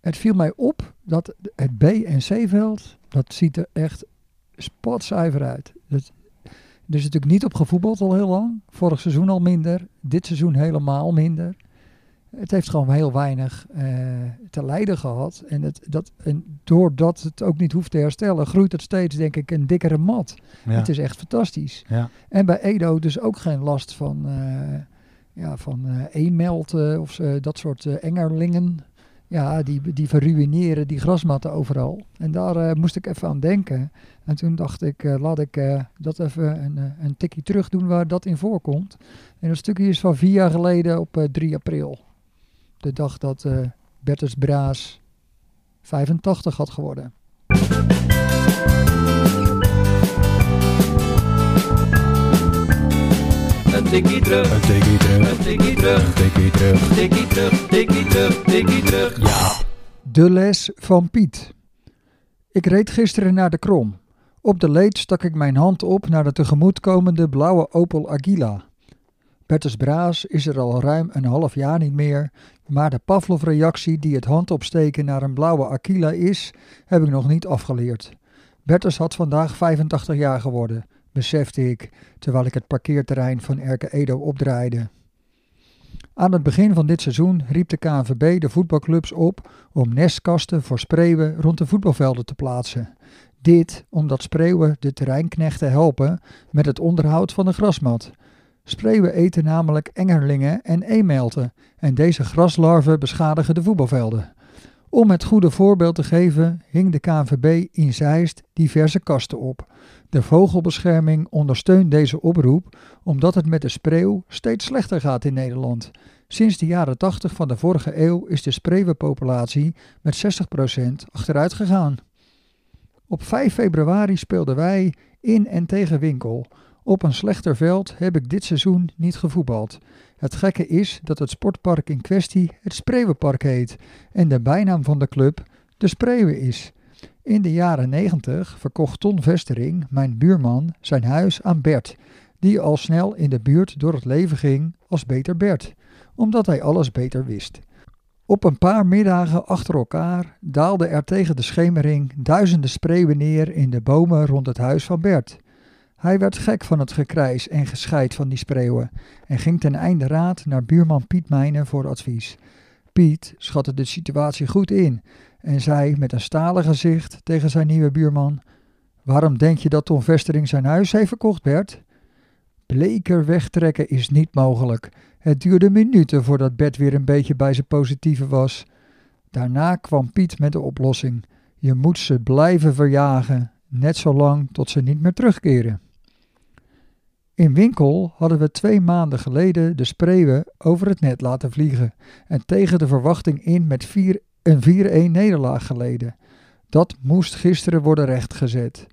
het viel mij op dat het B- en C-veld, dat ziet er echt spatcijfer uit. Dat, er is natuurlijk niet op gevoetbald al heel lang. Vorig seizoen al minder. Dit seizoen helemaal minder. Het heeft gewoon heel weinig eh, te lijden gehad. En, het, dat, en doordat het ook niet hoeft te herstellen, groeit het steeds, denk ik, een dikkere mat. Ja. Het is echt fantastisch. Ja. En bij Edo dus ook geen last van, eh ja, van eh eenmeld eh, of zo, dat soort eh, engerlingen. Ja, die, die verruineren die grasmatten overal. En daar eh, moest ik even aan denken. En toen dacht ik, eh, laat ik eh, dat even een, eh, een tikje terug doen waar dat in voorkomt. En dat stukje is van vier jaar geleden op eh, 3 april. De dag dat eh Bertus Braas 85 had geworden. Een tikkie terug, Een tikkie terug, een tikkie terug, een tikkie terug. tikkie terug, tikkie terug, tikkie terug. De les van Piet. Ik reed gisteren naar de Krom. Op de leed stak ik mijn hand op naar de tegemoetkomende blauwe Opel Aguila. Bertus Braas is er al ruim een half jaar niet meer, maar de Pavlov-reactie die het handopsteken naar een blauwe Aquila is, heb ik nog niet afgeleerd. Bertus had vandaag 85 jaar geworden, besefte ik terwijl ik het parkeerterrein van Erke Edo opdraaide. Aan het begin van dit seizoen riep de KNVB de voetbalclubs op om nestkasten voor spreeuwen rond de voetbalvelden te plaatsen. Dit omdat spreeuwen de terreinknechten helpen met het onderhoud van de grasmat. Spreeuwen eten namelijk engerlingen en eemelten en deze graslarven beschadigen de voetbalvelden. Om het goede voorbeeld te geven hing de KNVB in Zeist diverse kasten op. De vogelbescherming ondersteunt deze oproep omdat het met de spreeuw steeds slechter gaat in Nederland. Sinds de jaren 80 van de vorige eeuw is de spreeuwenpopulatie met 60% achteruit gegaan. Op 5 februari speelden wij in en tegen Winkel. Op een slechter veld heb ik dit seizoen niet gevoetbald. Het gekke is dat het sportpark in kwestie het Spreeuwenpark heet en de bijnaam van de club de Spreeuwen is. In de jaren 90 verkocht Ton Vestering, mijn buurman, zijn huis aan Bert, die al snel in de buurt door het leven ging als Beter Bert, omdat hij alles beter wist. Op een paar middagen achter elkaar daalden er tegen de schemering duizenden spreeuwen neer in de bomen rond het huis van Bert. Hij werd gek van het gekrijs en gescheid van die spreeuwen en ging ten einde raad naar buurman Piet Mijnen voor advies. Piet schatte de situatie goed in en zei met een stalen gezicht tegen zijn nieuwe buurman: Waarom denk je dat Tom Vestering zijn huis heeft verkocht, Bert? Bleker wegtrekken is niet mogelijk. Het duurde minuten voordat Bert weer een beetje bij zijn positieve was. Daarna kwam Piet met de oplossing: Je moet ze blijven verjagen, net zolang tot ze niet meer terugkeren. In winkel hadden we twee maanden geleden de spreeuwen over het net laten vliegen en tegen de verwachting in met 4, een 4-1 nederlaag geleden. Dat moest gisteren worden rechtgezet.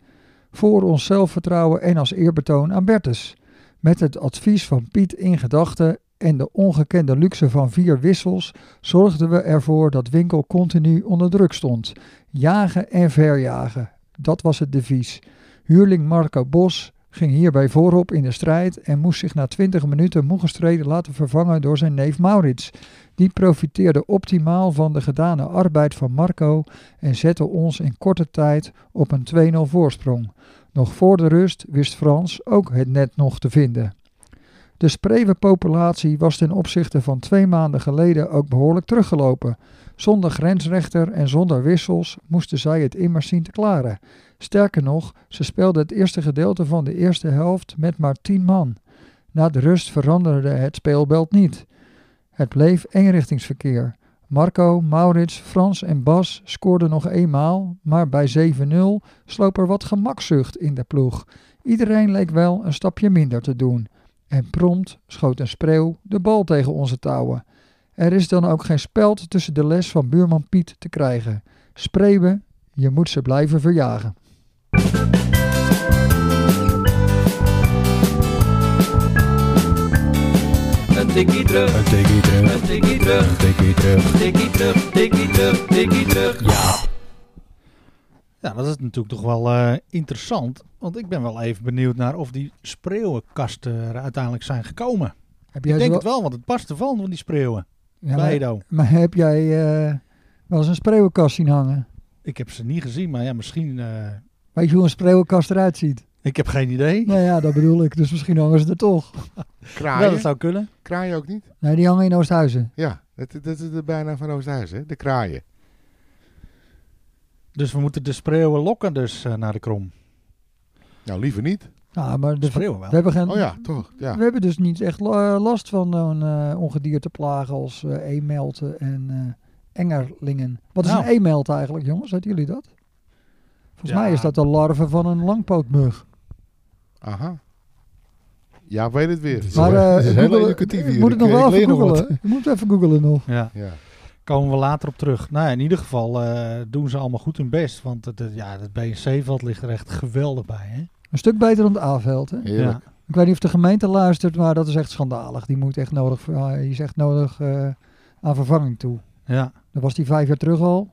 Voor ons zelfvertrouwen en als eerbetoon aan Bertus. Met het advies van Piet in gedachten en de ongekende luxe van vier wissels zorgden we ervoor dat winkel continu onder druk stond. Jagen en verjagen, dat was het devies. Huurling Marco Bos ging hierbij voorop in de strijd en moest zich na 20 minuten moe gestreden laten vervangen door zijn neef Maurits. Die profiteerde optimaal van de gedane arbeid van Marco en zette ons in korte tijd op een 2-0 voorsprong. Nog voor de rust wist Frans ook het net nog te vinden. De spreeuwenpopulatie was ten opzichte van twee maanden geleden ook behoorlijk teruggelopen. Zonder grensrechter en zonder wissels moesten zij het immers zien te klaren. Sterker nog, ze speelden het eerste gedeelte van de eerste helft met maar tien man. Na de rust veranderde het speelbeeld niet. Het bleef eenrichtingsverkeer. Marco, Maurits, Frans en Bas scoorden nog eenmaal, maar bij 7-0 sloop er wat gemakzucht in de ploeg. Iedereen leek wel een stapje minder te doen. En prompt schoot een spreeuw de bal tegen onze touwen. Er is dan ook geen speld tussen de les van buurman Piet te krijgen. Spreeuwen, je moet ze blijven verjagen. Een tikkie terug, Een tikkie terug, een tikkie terug, een tikkie terug. tikkie terug, tikkie terug, tikkie terug. Ja, dat is natuurlijk toch wel eh, interessant. Want ik ben wel even benieuwd naar of die spreeuwenkasten er uiteindelijk zijn gekomen. Heb Ik jij denk zo- het wel, want het past ervan, van die spreeuwen. Ja, Bij maar, Edo. maar heb jij eh, wel eens een spreeuwenkast zien hangen? Ik heb ze niet gezien, maar ja, misschien... eh, Weet je hoe een spreeuwenkast eruit ziet? ik heb geen idee. Nou ja, dat bedoel ik. Dus misschien hangen ze er toch. Wel, dat Kraaien? zou kunnen. Kraaien ook niet? Nee, die hangen in Oosthuizen. Ja, dat, dat is de bijna van Oosthuis, hè? De kraaien. Dus we moeten de spreeuwen lokken dus eh, naar de krom. Nou, liever niet. Nou, maar De de, we spreeuwen wel. hebben geen, Oh ja, toch? Ja. We hebben dus niet echt la- last van zo'n eh, ongedierteplagen als eh eemelten en eh, engerlingen. Wat is Nou. een eemelt eigenlijk, jongens? Weten jullie dat? Volgens Ja. mij is dat de larve van een langpootmug. Aha. Ja, weet het weer. Zo, Maar hè? eh, Het is ik heel googel- educatief ik hier. moet het Ik- eh, nog wel ik even leer nog wat. googelen. Ik moet even googelen nog. Ja, Ja. komen we later op terug. Nou ja, in ieder geval eh, doen ze allemaal goed hun best. Want het, het- ja, het BNC-veld ligt er echt geweldig bij. Hè? Een stuk beter dan het A-veld. hè? Heerlijk. Ja. Ik weet niet of de gemeente luistert, maar dat is echt schandalig. Die moet echt nodig, ja, die is echt nodig eh, aan vervanging toe. Ja. Dat was die vijf jaar terug al.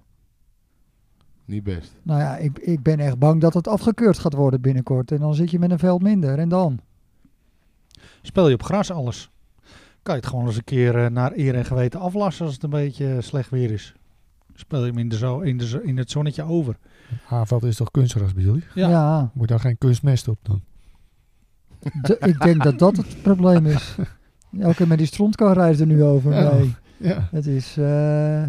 Niet best. Nou ja, ik, ik ben echt bang dat het afgekeurd gaat worden binnenkort. En dan zit je met een veld minder. En dan? Speel je op gras alles. Kan je het gewoon eens een keer eh, naar eer en geweten aflassen als het een beetje eh, slecht weer is. Speel je hem in, de zo, in, de zo- in het zonnetje over. Haarveld is toch kunstgras bij jullie? Ja. ja. Moet daar geen kunstmest op dan? D- ik denk dat dat het probleem is. Elke keer met die strontkar rijdt er nu over. Ja. Nee, Ja. het is... eh,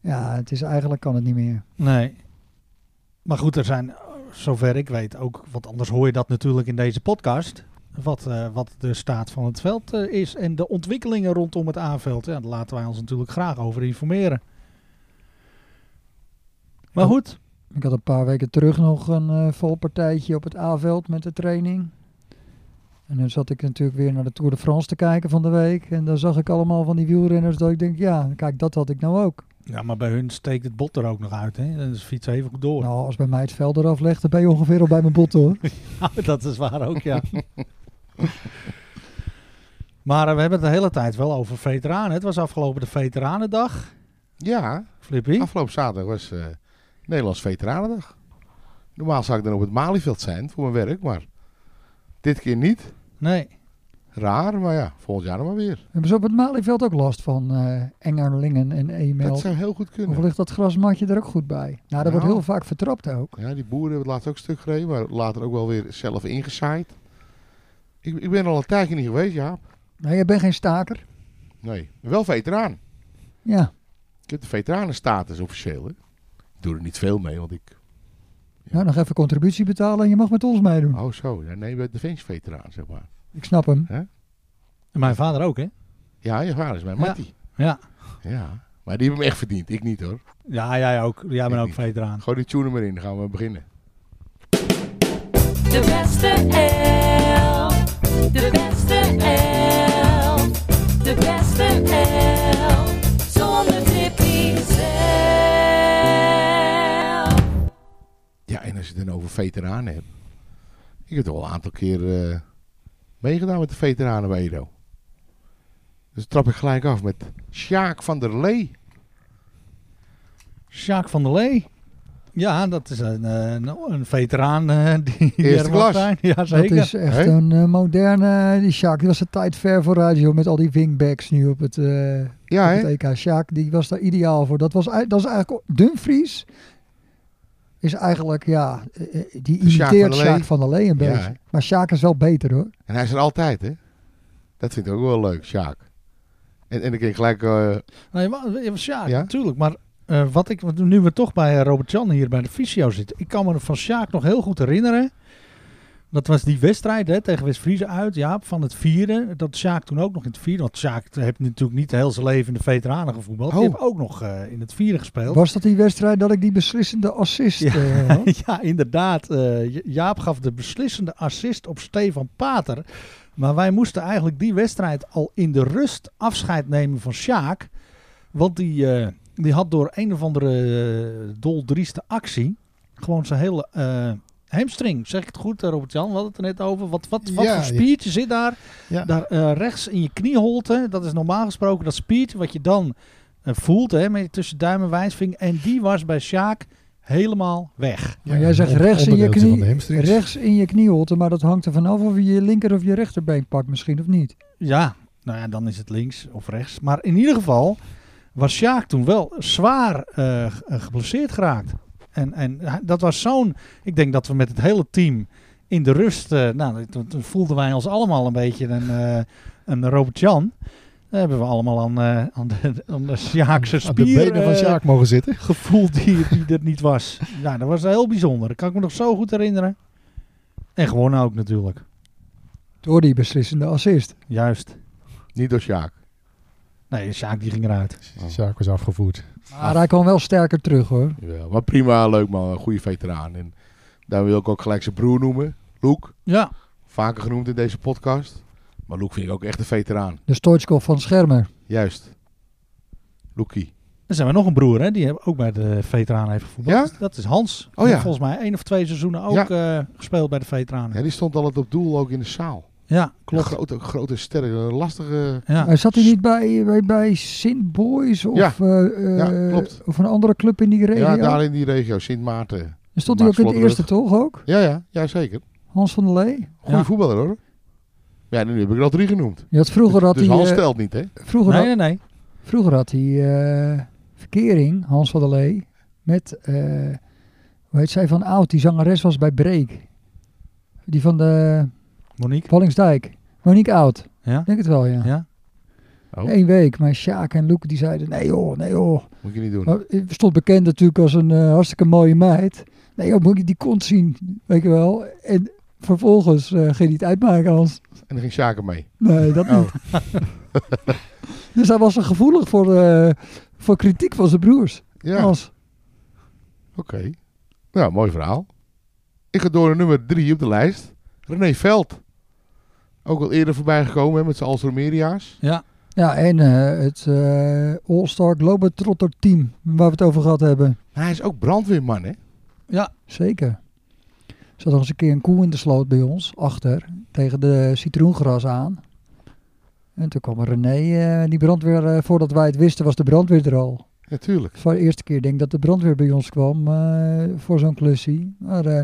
ja, het is eigenlijk kan het niet meer. Nee. Maar goed, er zijn, eh, zover ik weet ook, want anders hoor je dat natuurlijk in deze podcast, wat, eh, wat de staat van het veld eh, is en de ontwikkelingen rondom het aanveld. Ja, daar laten wij ons natuurlijk graag over informeren. Maar Ja. goed, Ik had een paar weken terug nog een eh, valpartijtje op het A-veld met de training. En dan zat ik natuurlijk weer naar de Tour de France te kijken van de week. En dan zag ik allemaal van die wielrenners dat ik denk, ja, kijk, dat had ik nou ook. ja, maar bij hun steekt het bot er ook nog uit. Hè? Dan is de fiets even goed door. Nou, als bij mij het veld eraf legt, dan ben je ongeveer al bij mijn bot hoor. <laughs> dat is waar ook, ja. maar eh, we hebben het de hele tijd wel over veteranen. Het was afgelopen de Veteranendag. Ja, Flippy. afgelopen zaterdag was eh, Nederlands Veteranendag. Normaal zou ik dan op het Malieveld zijn voor mijn werk, maar dit keer niet. Nee. Raar, maar ja, volgend jaar dan maar weer. Hebben ze op het Malieveld ook last van eh Engerlingen en Dat E-mail? zou heel goed kunnen. Of ligt dat grasmatje er ook goed bij? Nou, dat wordt Nou. heel vaak vertrapt ook. Ja, die boeren hebben het laatst ook stuk gereden, maar later ook wel weer zelf ingezaaid. Ik, ik ben al een tijdje niet geweest, Jaap. Nee, je bent geen staker. Nee, wel veteraan. Ja, Ik heb de veteranenstatus officieel. Hè. Ik doe er niet veel mee, want ik... nou nog even contributie betalen en je mag met ons meedoen. Oh zo, ja, nee, de veteraan zeg maar. Ik snap hem. En mijn vader ook, hè? Ja, je vader is mijn Ja. Mattie. Ja. Ja, maar die hebben hem echt verdiend. Ik niet hoor. Ja, jij ook. Jij Ik bent ook niet. veteraan. Gooi die tune er maar in, dan gaan we beginnen. De beste elf. De beste elf. De beste elf. Zonder Tippy zelf. Ja, en als je het dan over veteranen hebt. Ik heb toch al een aantal keer eh, meegedaan met de veteranen bij Edo. Dus trap ik gelijk af met Sjaak van der Lee. Jacques van der Lee. Ja, dat is een, eh, nou, een veteraan eh, die Eerste er mag klas. zijn. Ja, Dat zeker. is echt Hè? een eh, moderne... Die Sjaak, die was de tijd ver vooruit, joh. Met al die wingbacks nu op het, eh, Ja, op het hè? EK. Sjaak, die was daar ideaal voor. Dat, was, ei- dat is eigenlijk... Dumfries is eigenlijk, ja... eh, eh, Die Sjaak van imiteert der Lee. Sjaak van der Lee een Ja, beetje. hè? Maar Sjaak is wel beter, hoor. En hij is er altijd, hè? Dat vind ik ook wel leuk, Sjaak. En, en dan kreeg ik gelijk... eh, Nee, maar, ja, Sjaak, Ja? natuurlijk. Maar eh, wat ik, want nu we toch bij eh, Robert-Jan hier bij de fysio zitten. Ik kan me van Sjaak nog heel goed herinneren. Dat was die wedstrijd hè, tegen West-Friese uit, Jaap, van het vierde. Dat Sjaak toen ook nog in het vierde. Want Sjaak heeft natuurlijk niet heel zijn leven in de veteranen gevoetbald. Die Oh. heeft ook nog eh, in het vierde gespeeld. Was dat die wedstrijd dat ik die beslissende assist Ja. eh, <laughs> had? <laughs> Ja, inderdaad. Eh, Ja- Jaap gaf de beslissende assist op Stefan Pater. Maar wij moesten eigenlijk die wedstrijd al in de rust afscheid nemen van Sjaak. Want die, eh, die had door een of andere eh, doldrieste actie gewoon zijn hele eh hamstring. Zeg ik het goed, eh, Robert-Jan? We hadden het er net over. Wat, wat, wat Ja, voor ja. spiertje zit daar? Ja. Daar eh, rechts in je knieholte. Dat is normaal gesproken dat spiertje wat je dan eh, voelt hè, met je tussen duim en wijsvinger. En die was bij Sjaak helemaal weg. Maar jij zegt rechts in je onderdeeltje knie, van de hamstrings. Rechts in je knieholte, maar dat hangt er vanaf of je je linker of je rechterbeen pakt misschien of niet. Ja, nou ja, dan is het links of rechts. Maar in ieder geval was Sjaak toen wel zwaar eh, ge- geblesseerd geraakt. En, en hij- dat was zo'n... Ik denk dat we met het hele team in de rust... eh, nou, toen, toen voelden wij ons allemaal een beetje een, eh, een Robert-Jan. Daar hebben we allemaal aan, eh, aan, de, aan de Sjaakse Aan de spier benen van eh, Sjaak mogen zitten. gevoel die, die er niet was. Nou, dat was heel bijzonder. Dat kan ik me nog zo goed herinneren. En gewonnen ook natuurlijk. Door die beslissende assist. Juist. niet door Sjaak. Nee, Sjaak die ging eruit. Sjaak was afgevoerd. Maar hij kwam wel sterker terug hoor. Jawel, maar prima, leuk man, een goede veteraan. En daar wil ik ook gelijk zijn broer noemen, Loek. Ja, Vaker genoemd in deze podcast. Maar Loek vind ik ook echt een veteraan. De Stoichkov van Schermer. Juist. Loekie. Er zijn we nog een broer, hè? Die heb- ook bij de veteranen heeft gevoetbald. Ja? Dat is- Dat is Hans. Oh Die ja. heeft Volgens mij één of twee seizoenen ook eh, gespeeld bij de veteranen. Ja, Ja, die stond altijd op doel ook in de zaal. klopt. Grote, grote sterren, een lastige... Ja. Hij zat hij niet bij, bij, bij Sint Boys of, Ja. eh, eh, Ja, klopt. of een andere club in die regio? Ja, daar in die regio, Sint Maarten. Dan stond hij ook in het Max eerste toch ook? Ja, ja, ja zeker. Hans van der Lee. Goede Ja. voetballer hoor. Ja, nu heb ik er al drie genoemd. Je had vroeger had dus hij, Hans eh, stelt niet, hè? vroeger, Nee, had, nee, nee. vroeger had hij eh, verkering, Hans van der Lee, met, eh, hoe heet zij van oud, die zangeres was bij Break. Die van de Monique? Pollingsdijk. Monique Oud. Ja? Ik denk het wel, ja. Ja? Oh. Eén week. Maar Sjaak en Loek die zeiden, nee joh, nee joh. Moet je niet doen. Maar het stond bekend natuurlijk als een eh, hartstikke mooie meid. Nee joh, moet je die kont zien, weet je wel. En vervolgens eh, ging hij het uitmaken als... En dan ging Sjaken mee. <laughs> Nee, dat niet. Oh, Dus hij was er gevoelig voor, eh, voor kritiek van zijn broers. ja, oké. Als, Nou, mooi verhaal. Ik ga door naar nummer drie op de lijst. René Veld. Ook al eerder voorbij gekomen hè, met zijn Alstromeria's. Ja. ja, en eh, het eh, All-Star Globetrotter team waar we het over gehad hebben. Maar hij is ook brandweerman, hè? Zeker. Er zat nog eens een keer een koe in de sloot bij ons, achter, tegen de citroengras aan. En toen kwam René, eh, die brandweer, eh, voordat wij het wisten, was de brandweer er al. Natuurlijk. Voor de eerste keer denk ik dat de brandweer bij ons kwam eh, voor zo'n klussie. Maar eh,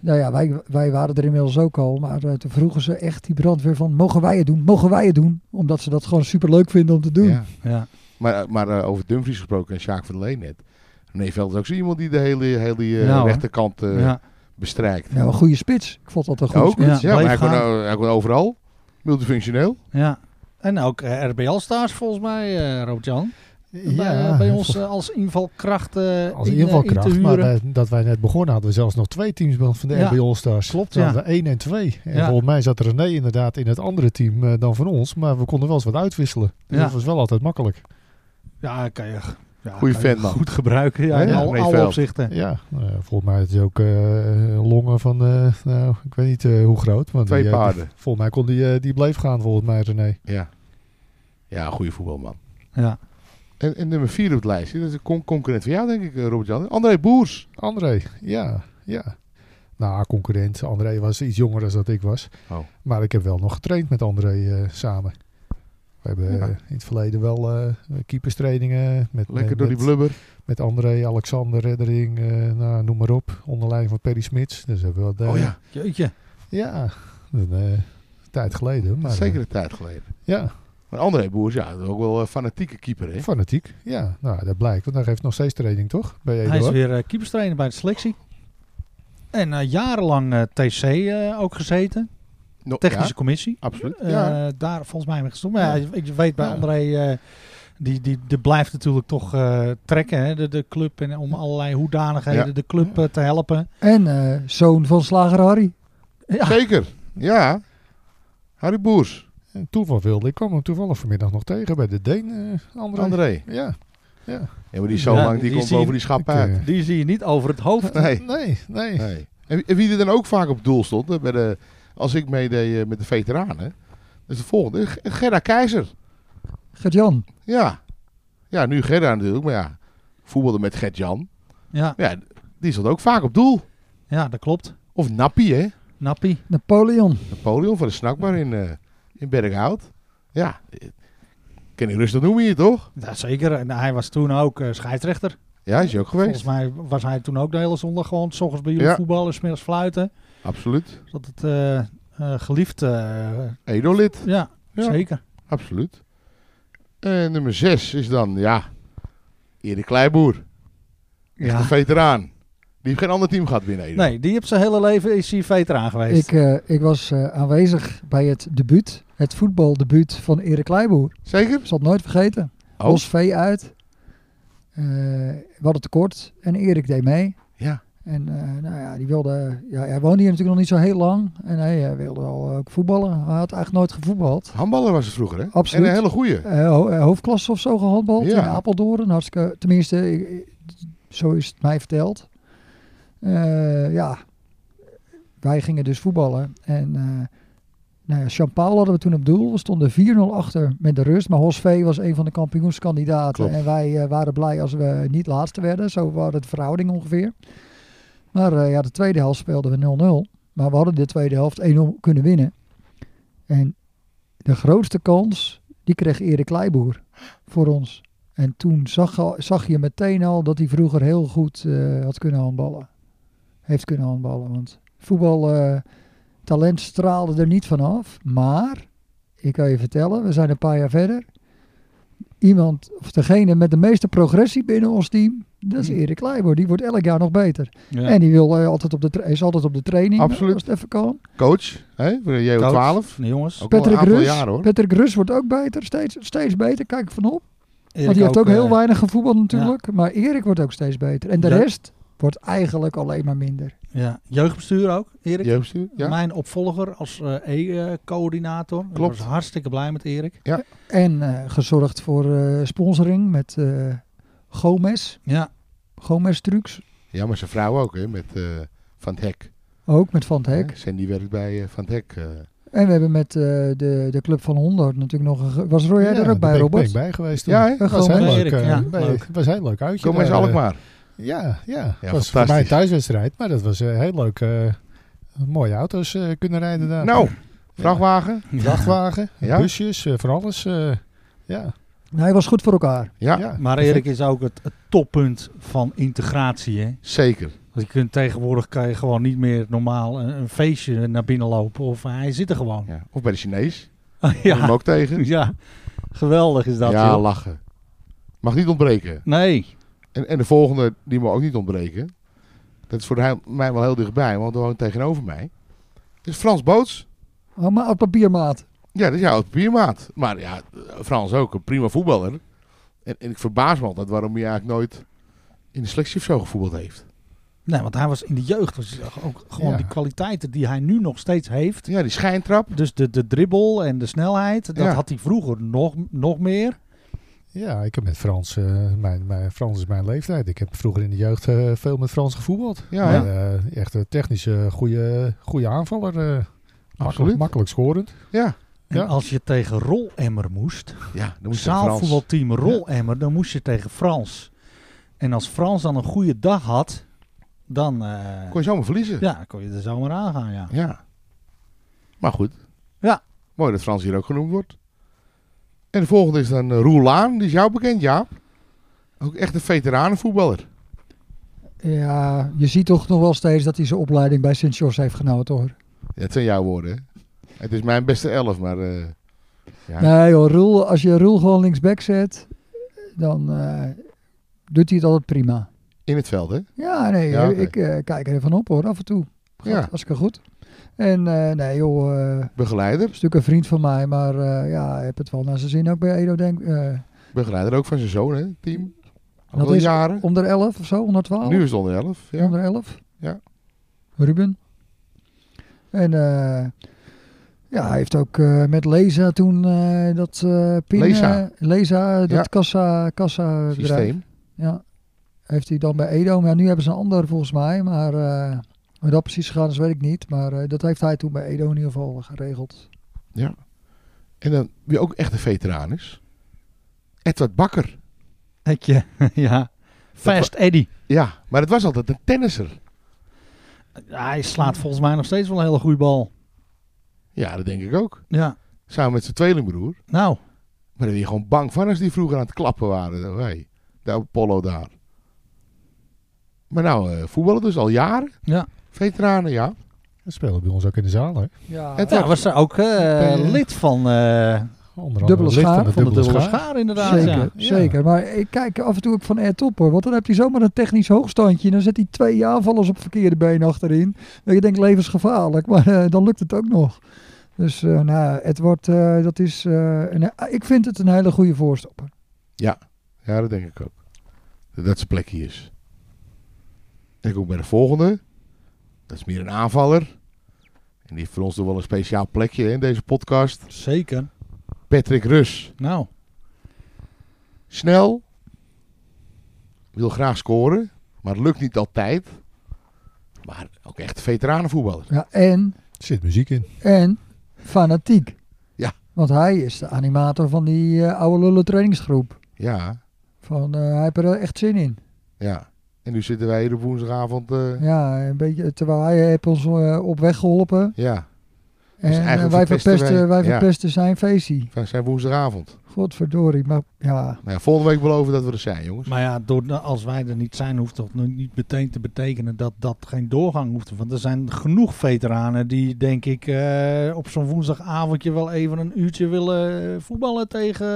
nou ja, wij, wij waren er inmiddels ook al. Maar eh, toen vroegen ze echt die brandweer van, mogen wij het doen? Mogen wij het doen? Omdat ze dat gewoon superleuk vinden om te doen. Ja. Ja. Maar, maar eh, over Dumfries gesproken en Sjaak van der Leen net. René Veld is ook zo iemand die de hele, hele eh, Ja, hoor. rechterkant eh, Nou, ja. bestrijkt. Nou, een goede spits. Ik vond dat een goede ook, spits. ja, Ja, maar blijf hij kon, gaan. o- hij kon overal. Multifunctioneel. Ja. En ook eh, RBL-staars volgens mij, eh Rood-Jan. Ja, bij, bij ons eh, als invalkracht eh, als in, eh, in invalkracht. te Maar huren. eh, dat wij net begonnen hadden we zelfs nog twee teams van van de Ja. RB All-Stars. Klopt, Ja. hadden we één en twee. En Ja. volgens mij zat René inderdaad in het andere team eh, dan van ons. Maar we konden wel eens wat uitwisselen. Dus Ja. dat was wel altijd makkelijk. ja, kan je, ja, Goeie kan je vent, man. goed gebruiken ja, in Ja, al, René alle Veld. <laughs> opzichten. Ja, nou ja, volgens mij had hij ook eh, longen van, eh, nou, ik weet niet eh, hoe groot. Want Twee die, eh, die- paarden. volgens mij kon die, eh, die bleef gaan, volgens mij René. Ja. Ja, een goede voetbalman. Ja. En, en nummer vier op het lijstje. Dat is een con- concurrent van jou, denk ik, eh, Robert-Jan. André Boers. André, ja, ja. Nou, concurrent. André was iets jonger dan dat ik was. Oh. Maar ik heb wel nog getraind met André eh, samen. We hebben Ja. eh, in het verleden wel eh keeperstrainingen met, Lekker met, door die met, blubber. met André, Alexander, Reddering, eh, nou, noem maar op. Onder leiding van Perry Smits. Dus hebben we wat, eh, oh ja, Jeetje. Ja, een eh, tijd geleden. Maar, dat is eh, zeker een tijd geleden. ja, Maar André Boers, ja, dat is ook wel een fanatieke keeper, hè? fanatiek. Ja, nou, dat blijkt. Want hij geeft nog steeds training, toch? Bij Hij is Eduard. weer eh, keeperstrainer bij de selectie. En eh, jarenlang eh, TC eh, ook gezeten. No- Technische ja, commissie. absoluut. Eh, ja. Daar volgens mij mee gestopt. Maar ja, ik weet bij Ja. André, eh, die, die, die blijft natuurlijk toch eh, trekken. Hè? De, de club en om allerlei hoedanigheden Ja. de club eh, te helpen. En eh, zoon van slager Harry. Ja, Zeker, ja. Harry Boers, En toeval wilde. Ik kwam hem toevallig vanmiddag nog tegen bij de Deen, eh André. André. Ja. ja. Ja, maar die is zo Ja, lang, die, die komt zie je- over die schap Ik, uit. eh, die zie je niet over het hoofd. Nee, Nee, nee. nee. En, wie- en wie er dan ook vaak op het doel stond, hè, bij de, als ik meedeed eh, met de veteranen, dat is de volgende. G- Gerda Keizer, Gert-Jan. ja. Ja, nu Gerda natuurlijk, maar ja, voetbalde met Gert-Jan. Ja, Ja, die stond ook vaak op doel. ja, dat klopt. Of Nappie, hè. Nappie. Napoleon. Napoleon van de snackbar in, eh, in Berghout. Ja, eh, kan ik rustig noemen hier, toch? Ja, zeker. En hij was toen ook eh, scheidsrechter. Ja, is hij ook Volgens geweest. mij was hij toen ook de hele zondag gewoon... S ochtends bij jullie Ja. voetballen, smiddags fluiten. Absoluut. Dat het eh, eh, geliefd... eh, Edo-lid. ja, Ja. zeker. Absoluut. En nummer 6 is dan, ja, Erik Kleiboer. Echt een Ja. veteraan. Die heeft geen ander team gehad binnen Edo. Nee, die heeft zijn hele leven is hij veteraan geweest. Ik, eh, ik was eh, aanwezig bij het debuut, het voetbaldebuut van Erik Kleiboer. Zeker? Ik zal het nooit vergeten. Oh. Ons vee uit. Eh, we hadden tekort en Erik deed mee. Ja. En eh, nou ja, die wilde, ja, hij woonde hier natuurlijk nog niet zo heel lang. En hij eh, wilde al ook voetballen. Hij had eigenlijk nooit gevoetbald. Handballer was het vroeger, hè? Absoluut. En een hele goeie. Eh, ho- eh, hoofdklasse of zo gehandbald Ja. in Apeldoorn. Hartstikke, tenminste, ik- ik- zo is het mij verteld. Eh, ja, wij gingen dus voetballen. En eh nou ja, Champaal hadden we toen op doel. We stonden 4-0 achter met de rust. Maar Hosvee was een van de kampioenskandidaten. Klopt. En wij eh, waren blij als we niet laatste werden. Zo waren de verhouding ongeveer. Maar eh, ja, de tweede helft speelden we 0-0. Maar we hadden de tweede helft 1-0 kunnen winnen. En de grootste kans, die kreeg Erik Kleiboer voor ons. En toen zag, al- zag je meteen al dat hij vroeger heel goed eh, had kunnen handballen. Heeft kunnen handballen. Want voetbaltalent talent straalde er niet vanaf. Maar, ik kan je vertellen, we zijn een paar jaar verder. Iemand, of degene met de meeste progressie binnen ons team, Dat is Hmm. Erik Kleiber. Die wordt elk jaar nog beter. Ja. En die wil, eh, altijd op de tra- is altijd op de training. Absoluut. Als het even kan. Coach, hè, voor de JO12. Nee, jongens. Ook al een Patrick aantal Rus. jaren hoor. Patrick Rus wordt ook beter. Steeds, steeds beter. Kijk ik van op. Erik Want Oh, die heeft ook heel eh, weinig gevoetbald natuurlijk. Maar Erik wordt ook steeds beter. En de Ja. rest wordt eigenlijk alleen maar minder. Ja, jeugdbestuur ook, Erik. Jeugdbestuur, ja. Mijn opvolger als eh, E-coördinator. Ik Klopt. was hartstikke blij met Erik. En eh, gezorgd voor eh, sponsoring met eh, Gomez. Ja, Gomez Trucks. ja, maar zijn vrouw ook, hè, met eh, Van het Hek. Ook met Van het Hek. Hè, Sandy werkt bij eh, Van het Hek. eh. En we hebben met eh, de, de Club van 100 natuurlijk nog... een ge- was Roy jij Ja, er ook bij, ben ik- Robert? Ben ik bij geweest toen. Ja, hè? dat was Gewoon heel bij leuk. Erik, eh, ja. bij- Leuk. Het was een heel leuk uitje. Kom eens daar, eh, Alkmaar. Ja, ja. Het was fantastisch. voor mij een thuiswedstrijd, maar dat was eh, heel leuk. eh, mooie auto's eh, kunnen rijden daar. <laughs> Nou, vrachtwagen. Vrachtwagen, Ja. busjes, eh, van alles. eh, ja. Nou, hij was goed voor elkaar. Ja, ja. maar Erik is ook het, het toppunt van integratie. Hè? zeker. Want je kunt tegenwoordig kan je gewoon niet meer normaal een, een feestje naar binnen lopen. Of hij zit er gewoon. Ja. Of bij de Chinees. Ja. Hem <laughs> Ja, ook <laughs> tegen. ja. geweldig is dat. ja, joh. lachen. Mag niet ontbreken. Nee, En, en de volgende, die mag ook niet ontbreken. Dat is voor hij- mij wel heel dichtbij, want hij woont tegenover mij. is Frans Boots. Oh, maar op papiermaat. Ja, dat is jouw papiermaat. Maar ja, Frans ook, een prima voetballer. En, en ik verbaas me altijd waarom hij eigenlijk nooit in de selectie of zo gevoetbald heeft. nee, want hij was in de jeugd. Was ook gewoon Ja. die kwaliteiten die hij nu nog steeds heeft. Ja, die schijntrap. Dus de, de dribbel en de snelheid, dat Ja. had hij vroeger nog, nog meer. Ja, ik heb met Frans, eh, mijn, mijn, Frans is mijn leeftijd. Ik heb vroeger in de jeugd eh, veel met Frans gevoetbald. Ja, Maar, eh, echt een technische goede, goede aanvaller. eh, Absoluut. makkelijk, makkelijk scorend. Ja, En Ja. als je tegen Rolemmer moest, ja dan moest je Frans. zaalvoetbalteam Rolemmer, dan moest je tegen Frans. En als Frans dan een goede dag had, dan eh, Kon je zomaar verliezen. Ja. ja, dan kon je er zomaar aan gaan. Ja. Maar goed. Ja. Mooi dat Frans hier ook genoemd wordt. En de volgende is dan eh, Roel Laan. Die is jou bekend, Jaap. Ook echt een veteranenvoetballer. Ja, je ziet toch nog wel steeds dat hij zijn opleiding bij Sint-Jos heeft genoten hoor. Ja, het zijn jouw woorden, hè? Het is mijn beste elf, maar... eh, Ja. Nee joh, Roel, als je Roel gewoon linksback zet, dan eh, doet hij het altijd prima. in het veld, hè? Ja, nee, Ja, oké. ik eh, kijk er van op hoor, af en toe. Gaat Ja. hartstikke goed. En eh, nee joh, eh, Begeleider. is natuurlijk een vriend van mij, maar eh ja, hij heeft het wel naar zijn zin ook bij Edo denk eh, Begeleider ook van zijn zoon, hè? Team. Ook Dat al is jaren. Onder 11 of zo, onder 12? Nu is het onder elf. Ja. Onder 11? Ja. Ruben. En eh, ja, hij heeft ook eh, met Leza toen eh, dat eh pinnen... Leza. Leza, dat Ja. kassa, kassa bedrijf. Systeem. Ja. Heeft hij dan bij Edo. Maar nu hebben ze een ander volgens mij. Maar eh hoe dat precies gegaan is, weet ik niet. Maar eh, dat heeft hij toen bij Edo in ieder geval geregeld. En dan wie ook echt een veteraan is. Edward Bakker. Hetje, <laughs> ja. Fast Eddy. Ja, maar het was altijd een tennisser. Hij slaat volgens mij nog steeds wel een hele goede bal. Ja, dat denk ik ook. Ja, Samen met zijn tweelingbroer. nou, Maar daar ben je gewoon bang van als die vroeger aan het klappen waren. Zo, hey, de Apollo daar. Maar nou, eh, voetballen dus al jaren. ja. Veteranen, ja. Dat spelen bij ons ook in de zaal. Hè? Ja. Het- ja was er ook eh, eh, lid van, eh, Onder andere Dubbele lid schaar, van de van de dubbele, dubbele schaar. schaar inderdaad. Zeker, Ja. ja. zeker. Maar ik kijk af en toe ook van Ed op hoor. Want dan hebt hij zomaar een technisch hoogstandje. En dan zet hij twee aanvallers op verkeerde been achterin. En je denkt levensgevaarlijk. <laughs> Maar eh, dan lukt het ook nog. Dus eh nou, Edward, eh, dat is. eh, een, ik vind het een hele goede voorstopper. Ja, dat denk ik ook. Dat dat zijn plekje is. En ik ook bij de volgende. Dat is meer een aanvaller. En die heeft voor ons toch wel een speciaal plekje hè, in deze podcast. Zeker. Patrick Rus. Nou, Snel. Wil graag scoren. Maar het lukt niet altijd. Maar ook echt veteranenvoetballer. Ja, en, Er zit muziek in. en fanatiek. Ja. Want hij is de animator van die eh, oude lullen trainingsgroep. Ja, Van, eh, hij heeft er echt zin in. ja. En nu zitten wij hier op woensdagavond. eh, Ja, een beetje, terwijl hij heeft ons eh, op weg geholpen. ja, En Dus eigenlijk eh, wij verpesten verpesten, wij, wij- ja. verpesten zijn feestje. van zijn woensdagavond. Godverdorie, maar ja. Nou ja, volgende week beloven dat we er zijn, jongens. maar ja, door, als wij er niet zijn, hoeft dat nu niet meteen te betekenen dat dat geen doorgang hoeft. Want er zijn genoeg veteranen die, denk ik, eh, op zo'n woensdagavondje wel even een uurtje willen voetballen tegen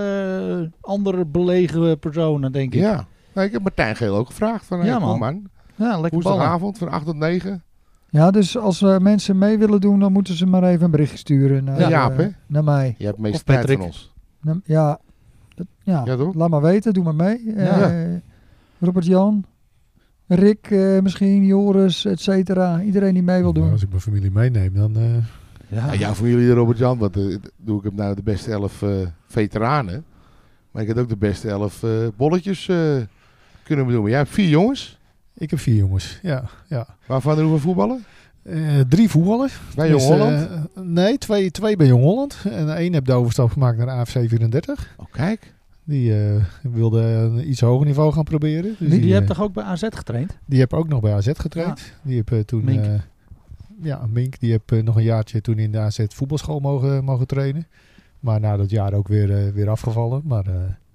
eh, andere belegen personen, denk ik. Ja, Nee, ik heb Martijn Geel ook gevraagd. Van, hey, Ja, kom man. man. Ja, lekker ballen. Woensdagavond van 8 tot 9. Ja, dus als eh, mensen mee willen doen, dan moeten ze maar even een berichtje sturen naar, Ja, Jaap, eh, hè? naar mij. Je hebt meest Of tijd Patrick. Ah. van ons. Naar- ja, dat- ja. Ja, toch? laat maar weten, doe maar mee. Ja. Eh, Robert-Jan, Rick eh, misschien, Joris, et cetera. Iedereen die mee wil Nou, doen. Als ik mijn familie meeneem, dan... eh, Ja, Ja, ja, voor jullie Robert-Jan. Want eh, doe ik hem nou de beste elf eh, veteranen. Maar ik had ook de beste elf eh, bolletjes eh, kunnen bedoelen. Jij hebt vier jongens. ik heb vier jongens, ja. ja. Waarvan er hoeveel voetballen? Eh, drie voetballen. Bij Jong Dus, Holland. eh, nee, twee, twee bij Jong Holland. En één heb de overstap gemaakt naar AFC 34. oh, kijk. Die eh, wilde een iets hoger niveau gaan proberen. Dus Die, eh, hebt toch ook bij AZ getraind? Die heb ook nog bij AZ getraind. Die heb eh, toen... Mink. eh, ja, Mink. Die heb eh, nog een jaartje toen in de AZ voetbalschool mogen, mogen trainen. Maar na dat jaar ook weer, eh, weer afgevallen. Maar eh,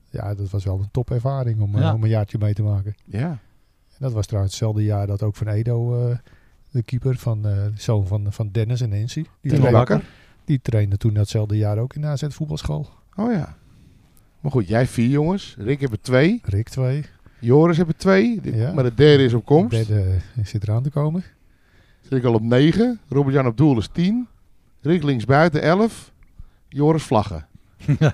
ja, dat was wel een topervaring om, eh, Ja. om een jaartje mee te maken. eh, Ja. En dat was trouwens hetzelfde jaar dat ook Van Edo, eh, de keeper van eh, de zoon van, van Dennis en Nancy. Die, Timo trainde, Bakker. die trainde toen datzelfde jaar ook in de AZ voetbalschool. Oh ja. Maar goed, jij vier jongens. Rick heeft er twee. Rick 2. Joris heeft er twee. De- Ja. Maar de derde is op komst. Derde eh, zit eraan te komen. Zit ik al op 9. Robert-Jan op doel is 10. Rick linksbuiten 11. Joris Vlaggen.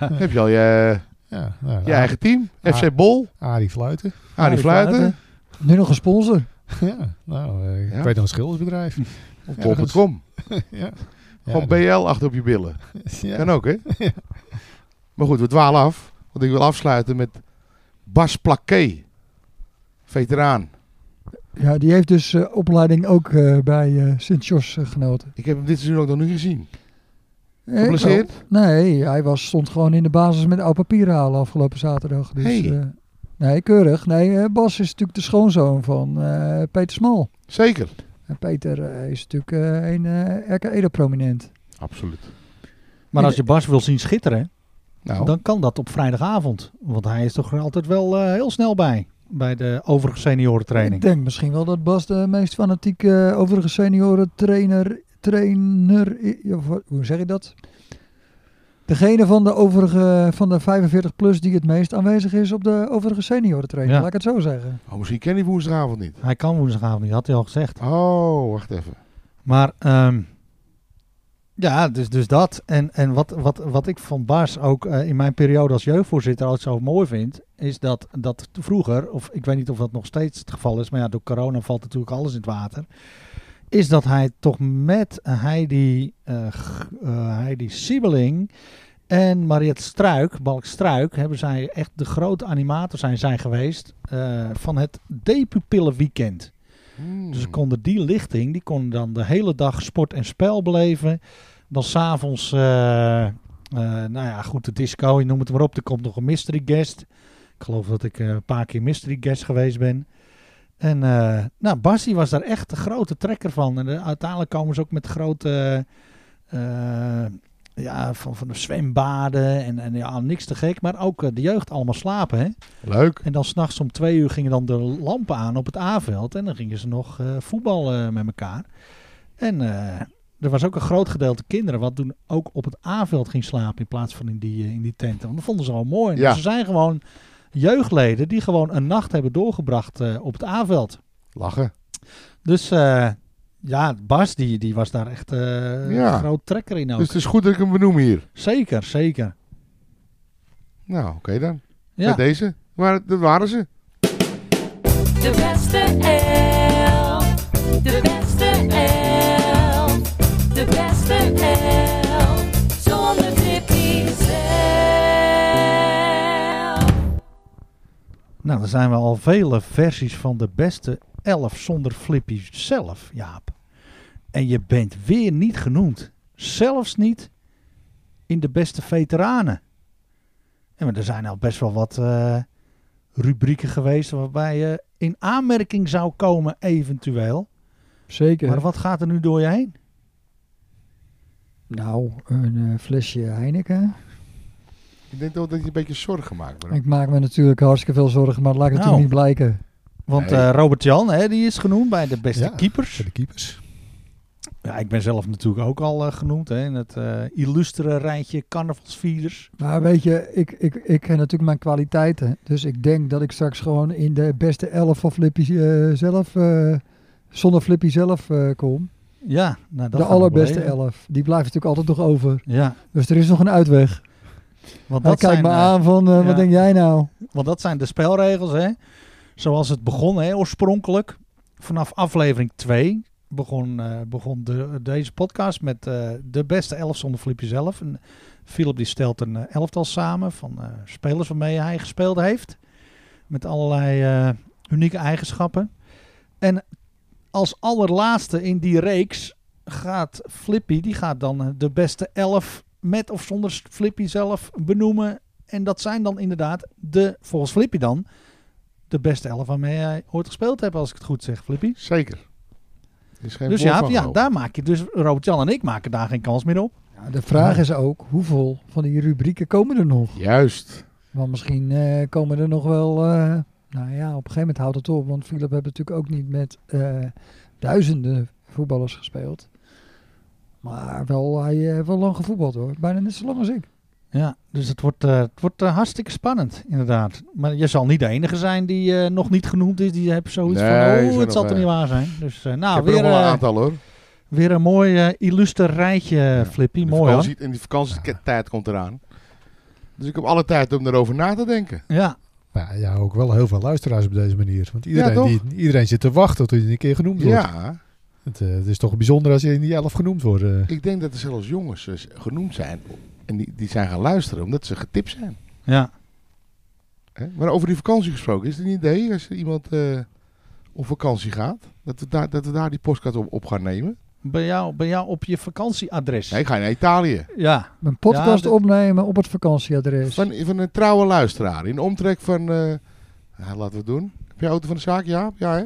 Heb je al je, Ja, nou, je eigen team? Ah. FC Bol. Arie Fluiten. <laughs> Arie Fluiten. Nu nog een sponsor. ja, nou, eh, Ja. ik weet nog een schildersbedrijf. <laughs> Of Ergens. bol.com. <laughs> ja. Gewoon BL achter op je billen. <laughs> Ja. Kan ook, hè? Maar goed, we dwalen af. Want ik wil afsluiten met Bas Plaquet. Veteraan. Ja, die heeft dus eh, opleiding ook eh, bij eh Sint-Jos eh, genoten. Ik heb hem dit seizoen ook nog niet gezien. Eh, Geblesseerd? Oh. Nee, hij was, stond gewoon in de basis met oud papier halen afgelopen zaterdag. Dus, Hey. eh, nee, keurig. Nee, eh, Bas is natuurlijk de schoonzoon van eh, Peter Smal. Zeker. En Peter eh, is natuurlijk eh, een eh RK Edo-prominent. Absoluut. Maar als je Bas wil zien schitteren, Nou, dan kan dat op vrijdagavond. Want hij is toch altijd wel eh, heel snel bij. Bij de overige seniorentraining. Ik denk misschien wel dat Bas de meest fanatieke eh, overige senioren trainer, trainer i- of wat- hoe zeg je dat? Degene van de overige, van de 45 plus die het meest aanwezig is op de overige senioren trainer, Ja. laat ik het zo zeggen. oh, misschien ken hij woensdagavond niet. Hij kan woensdagavond niet, had hij al gezegd. Oh, wacht even. Maar ehm, ja, dus, dus dat. En, en wat, wat, wat ik van Bas ook eh, in mijn periode als jeugdvoorzitter altijd zo mooi vind, is dat, dat vroeger, of ik weet niet of dat nog steeds het geval is, maar ja, door corona valt natuurlijk alles in het water. Is dat hij toch met Heidi, eh, G- eh, Heidi Siebeling en Mariette Struik, Balk Struik, hebben zij echt de grote animator zijn, zijn geweest eh, van het D-pupillenweekend. Hmm. Dus ze konden die lichting, die konden dan de hele dag sport en spel beleven. Dan s'avonds, eh eh nou ja, goed, de disco, je noemt het maar op. Er komt nog een mystery guest. Ik geloof dat ik eh, een paar keer mystery guest geweest ben. En eh nou, Bassie was daar echt de grote trekker van. En eh, uiteindelijk komen ze ook met grote, eh, eh, ja, van, van de zwembaden en, en ja, niks te gek. Maar ook eh, de jeugd allemaal slapen, hè. Leuk. En dan s'nachts om twee uur gingen dan de lampen aan op het A-veld. En dan gingen ze nog eh, voetballen met elkaar. En eh, er was ook een groot gedeelte kinderen wat toen ook op het A-veld ging slapen in plaats van in die, eh, in die tenten. Want dat vonden ze al mooi. Ja. Dus er zijn gewoon jeugdleden die gewoon een nacht hebben doorgebracht eh, op het A-veld. Lachen. Dus eh, ja, Bas die, die was daar echt eh, Ja. een groot trekker in ook. Dus het is goed dat ik hem benoem hier. Zeker, zeker. Nou, oké dan. Ja. Met deze. Maar dat waren ze. De beste elf. De beste elf. De beste elf. Zonder Tippy zelf. Nou, dan zijn we al vele versies van de beste elf zonder Flippy zelf, Jaap. En je bent weer niet genoemd. Zelfs niet in de beste veteranen. En maar er zijn al best wel wat eh, rubrieken geweest waarbij je in aanmerking zou komen eventueel. Zeker. Maar wat gaat er nu door je heen? nou, een eh, flesje Heineken. Ik denk wel dat je een beetje zorgen maakt. Bram. Ik maak me natuurlijk hartstikke veel zorgen, maar laat ik het Nou. toch niet blijken. Want Nee. eh, Robert Jan, hè, die is genoemd bij de beste Ja. keepers. Voor de keepers. Ja, ik ben zelf natuurlijk ook al eh, genoemd hè, in het eh, illustere rijtje carnavalsvierders. Maar weet je, ik, ik, ik ken natuurlijk mijn kwaliteiten. Dus ik denk dat ik straks gewoon in de beste elf van Flippy eh, zelf, eh, zonder Flippy zelf eh, kom. Ja, nou, dat de gaan we allerbeste beleven. elf. Die blijft natuurlijk altijd nog over. Ja, Dus er is nog een uitweg. want Hij dat, kijkt zijn, me eh, aan van, eh, ja. wat denk jij nou? want dat zijn de spelregels. Hè. Zoals het begon hè, oorspronkelijk. Vanaf aflevering 2 begon, eh, begon de, deze podcast met eh, de beste elf zonder Flipje zelf. En Philip die stelt een eh, elftal samen van eh, spelers waarmee hij gespeeld heeft. Met allerlei eh, unieke eigenschappen. En als allerlaatste in die reeks gaat Flippy, die gaat dan eh, de beste elf met of zonder Flippy zelf benoemen. En dat zijn dan inderdaad de, volgens Flippy dan, de beste elf waarmee hij ooit gespeeld heeft, als ik het goed zeg, Flippy. Zeker. Er Is geen Dus woord ja, van ja gelogen. daar maak je, dus Robert-Jan en ik maken daar geen kans meer op. Ja, de vraag is ook, hoeveel van die rubrieken komen er nog? Ah, Juist. Want misschien eh, komen er nog wel... eh, nou ja, op een gegeven moment houdt het op. Want Philip heeft natuurlijk ook niet met eh, duizenden voetballers gespeeld. Maar wel, hij eh, heeft wel lang gevoetbald hoor. Bijna net zo lang als ik. Ja, dus het wordt, eh, het wordt eh, hartstikke spannend, inderdaad. Maar je zal niet de enige zijn die eh, nog niet genoemd is. Die hebt zoiets Nee, er van, zijn oh, het nog, zal toch eh, niet waar zijn. Dus eh, ik nou, heb er nog weer, wel een eh, aantal hoor. weer een mooi eh, illuster rijtje, Flippy. Die Mooi hoor. vakantie- En die vakantietijd komt eraan. Dus ik heb alle tijd om daarover na te denken. Ja, Maar ja, ook wel heel veel luisteraars op deze manier. Want iedereen, toch? die, iedereen zit te wachten tot hij een keer genoemd wordt. Ja, Het, eh, het is toch bijzonder als je in die elf genoemd wordt. eh. ik denk dat er zelfs jongens eh, genoemd zijn. En die, die zijn gaan luisteren omdat ze getipt zijn. ja. Hè? Maar over die vakantie gesproken, is het een idee als er iemand eh, op vakantie gaat, dat we daar, dat we daar die postkaart op, op gaan nemen? Bij, jou, bij jou op je vakantieadres. Nee, ik ga naar Italië. Ja, Mijn podcast Ja, dat- opnemen op het vakantieadres. Van, van een trouwe luisteraar. In de omtrek van, eh, nou, laten we het doen. Heb je auto van de zaak? Ja, ja hè?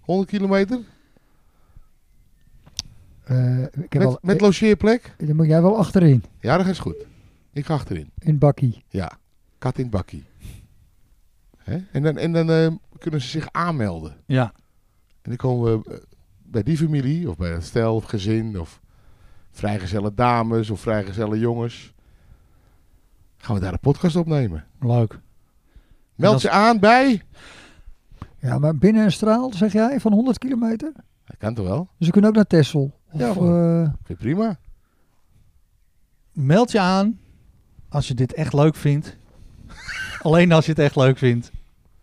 100 kilometer? Eh, ik heb Met, al, met logeerplek? eh, dan moet jij wel achterin, Ja, dat is goed. Ik ga achterin. in het bakkie. Ja, kat in het bakkie. Hè? En dan, en dan eh, kunnen ze zich aanmelden. ja. En dan komen we eh, bij die familie, of bij het stel of gezin, of vrijgezelle dames of vrijgezelle jongens. Gaan we daar een podcast opnemen? Leuk. Meld als- je aan bij. Ja, maar binnen een straal, zeg jij, van 100 kilometer? Dat kan toch wel? Dus we kunnen ook naar Texel. Of, Ja, eh, ja, hoor. Vind je prima? Meld je aan als je dit echt leuk <laughs> vindt. Alleen als je het echt leuk vindt.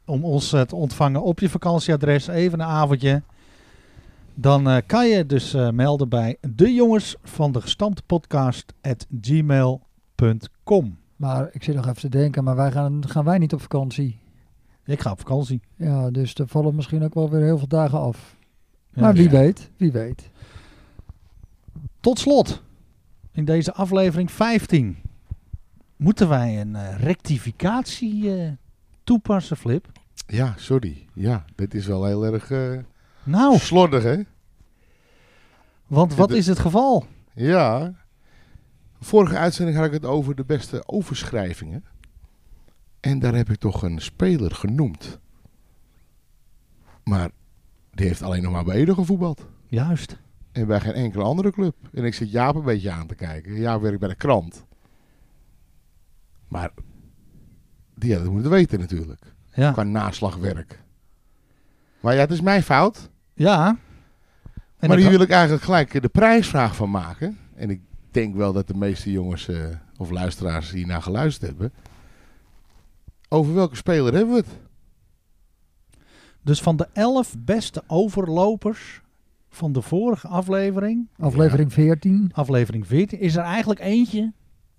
Om ons eh, te ontvangen op je vakantieadres. Even een avondje. Dan eh, kan je dus eh, melden bij de jongens van de gestampte podcast at gmail.com. maar ik zit nog even te denken, maar wij gaan, gaan wij niet op vakantie? Ik ga op vakantie. Ja, dus er vallen misschien ook wel weer heel veel dagen af. Ja. maar wie weet, wie weet. Tot slot, in deze aflevering 15, moeten wij een eh, rectificatie eh, toepassen, Flip? Ja, sorry. Ja, dit is wel heel erg eh, Nou, slordig, hè? want wat is het geval? Ja. Vorige uitzending had ik het over de beste overschrijvingen. En daar heb ik toch een speler genoemd. Maar die heeft alleen nog maar bij Ede gevoetbald. Juist. En bij geen enkele andere club. En ik zit Jaap een beetje aan te kijken. Jaap werkt bij de krant. Maar die hadden het moeten weten natuurlijk. Ja. Qua naslagwerk. Maar ja, het is mijn fout. Ja. En maar dat- hier wil ik eigenlijk gelijk de prijsvraag van maken. En ik denk wel dat de meeste jongens eh, of luisteraars hiernaar geluisterd hebben. Over welke speler hebben we het? Dus van de elf beste overlopers van de vorige aflevering, Aflevering 14. aflevering 14, is er eigenlijk eentje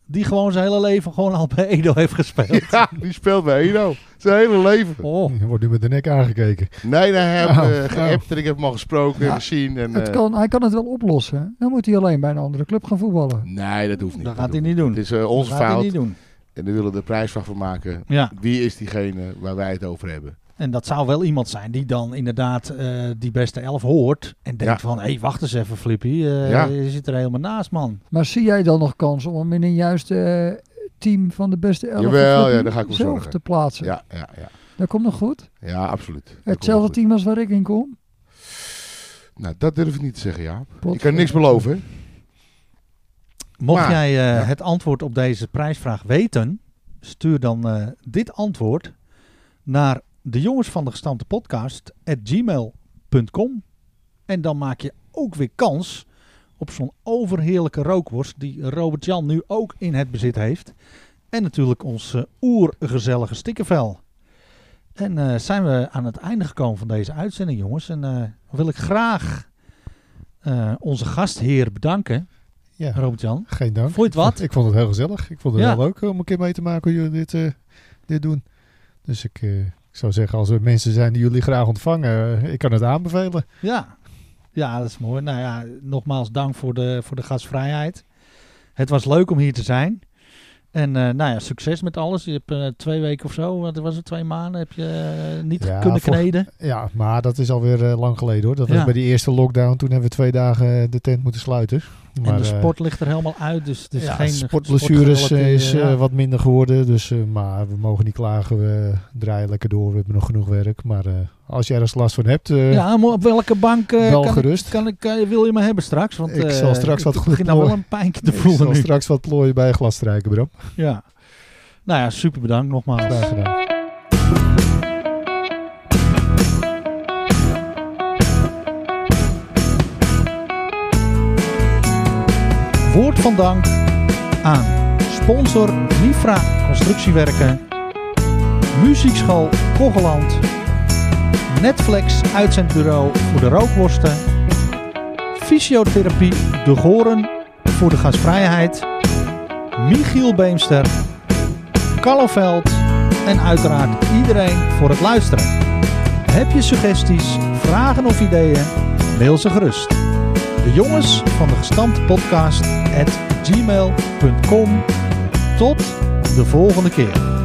die gewoon zijn hele leven gewoon al bij Edo heeft gespeeld. <laughs> Ja, die speelt bij Edo. Zijn hele leven. Oh, <laughs> Je wordt nu met de nek aangekeken. Nee, nee, hij heeft Oh, eh, geappt en ik heb hem al gesproken en Ja, gezien. En, Het eh, kan, hij kan het wel oplossen. Dan moet hij alleen bij een andere club gaan voetballen. Nee, dat hoeft niet. dat hoeft gaat hij niet doen. Het is eh, onze dat gaat hij fout. niet doen. En daar willen we de prijsvraag van maken. Ja, Wie is diegene waar wij het over hebben? en dat zou wel iemand zijn die dan inderdaad eh, die beste elf hoort en denkt van, hé, hey, wacht eens even Flippy, eh, Ja. je zit er helemaal naast man. Maar zie jij dan nog kans om hem in een juiste eh, team van de beste elf Jawel, of ja, daar ga ik voor zelf zorgen. te plaatsen? Ja, ja, ja. Dat komt nog goed. ja absoluut. Dat komt wel Hetzelfde goed. team als waar ik in kom. Nou, dat durf ik niet te zeggen, Jaap. Ik kan niks beloven. hè. Mocht Maar- jij eh, Ja. het antwoord op deze prijsvraag weten, stuur dan eh, dit antwoord naar de jongens van de gestampte podcast gmail.com. En dan maak je ook weer kans op zo'n overheerlijke rookworst die Robert Jan nu ook in het bezit heeft. En natuurlijk ons eh, oergezellige stikkervel. En eh, zijn we aan het einde gekomen van deze uitzending, jongens. En eh, wil ik graag eh, onze gastheer bedanken, Ja, Robert Jan. geen dank. Vond je het wat? Ik vond het heel gezellig. Ik vond het Ja. heel leuk om een keer mee te maken hoe jullie dit, eh, dit doen. Dus ik, eh, ik zou zeggen, als er mensen zijn die jullie graag ontvangen, eh, ik kan het aanbevelen. Ja. ja, dat is mooi. Nou ja, nogmaals dank voor de, voor de gastvrijheid. Het was leuk om hier te zijn. En eh, nou ja, succes met alles. Je hebt eh, twee weken of zo, wat was het, twee maanden, heb je eh, niet Ja, kunnen voor- kneden. Ja, maar dat is alweer eh, lang geleden hoor. Dat Ja. was bij die eerste lockdown. Toen hebben we twee dagen eh, de tent moeten sluiten. Maar, en de eh, sport ligt er helemaal uit, dus het is ja, geen... sportblessures eh, sportgerelateerde- is eh, ja. wat minder geworden. Dus, eh, maar we mogen niet klagen. We draaien lekker door. We hebben nog genoeg werk. Maar eh, als jij er last van hebt, eh, <laughs> Ja, maar op welke bank eh, wel kan gerust. Ik, kan ik, eh, wil je me hebben straks? Want, Ik eh, zal straks wat ik begin nou wel goedkoop- een pijntje te <laughs> ik voelen zal nu. straks wat plooien bij een glas strijken, Bram. Ja. Nou ja, super bedankt nogmaals. Graag gedaan. Woord van dank aan sponsor Nifra Constructiewerken, Muziekschool Kogeland, Netflix Uitzendbureau voor de rookworsten, Fysiotherapie De Goren voor de gasvrijheid, Michiel Beemster, Carlo Veld en uiteraard iedereen voor het luisteren. Heb je suggesties, vragen of ideeën? Mail ze gerust de jongens van de gestampte podcast at gmail.com. Tot de volgende keer.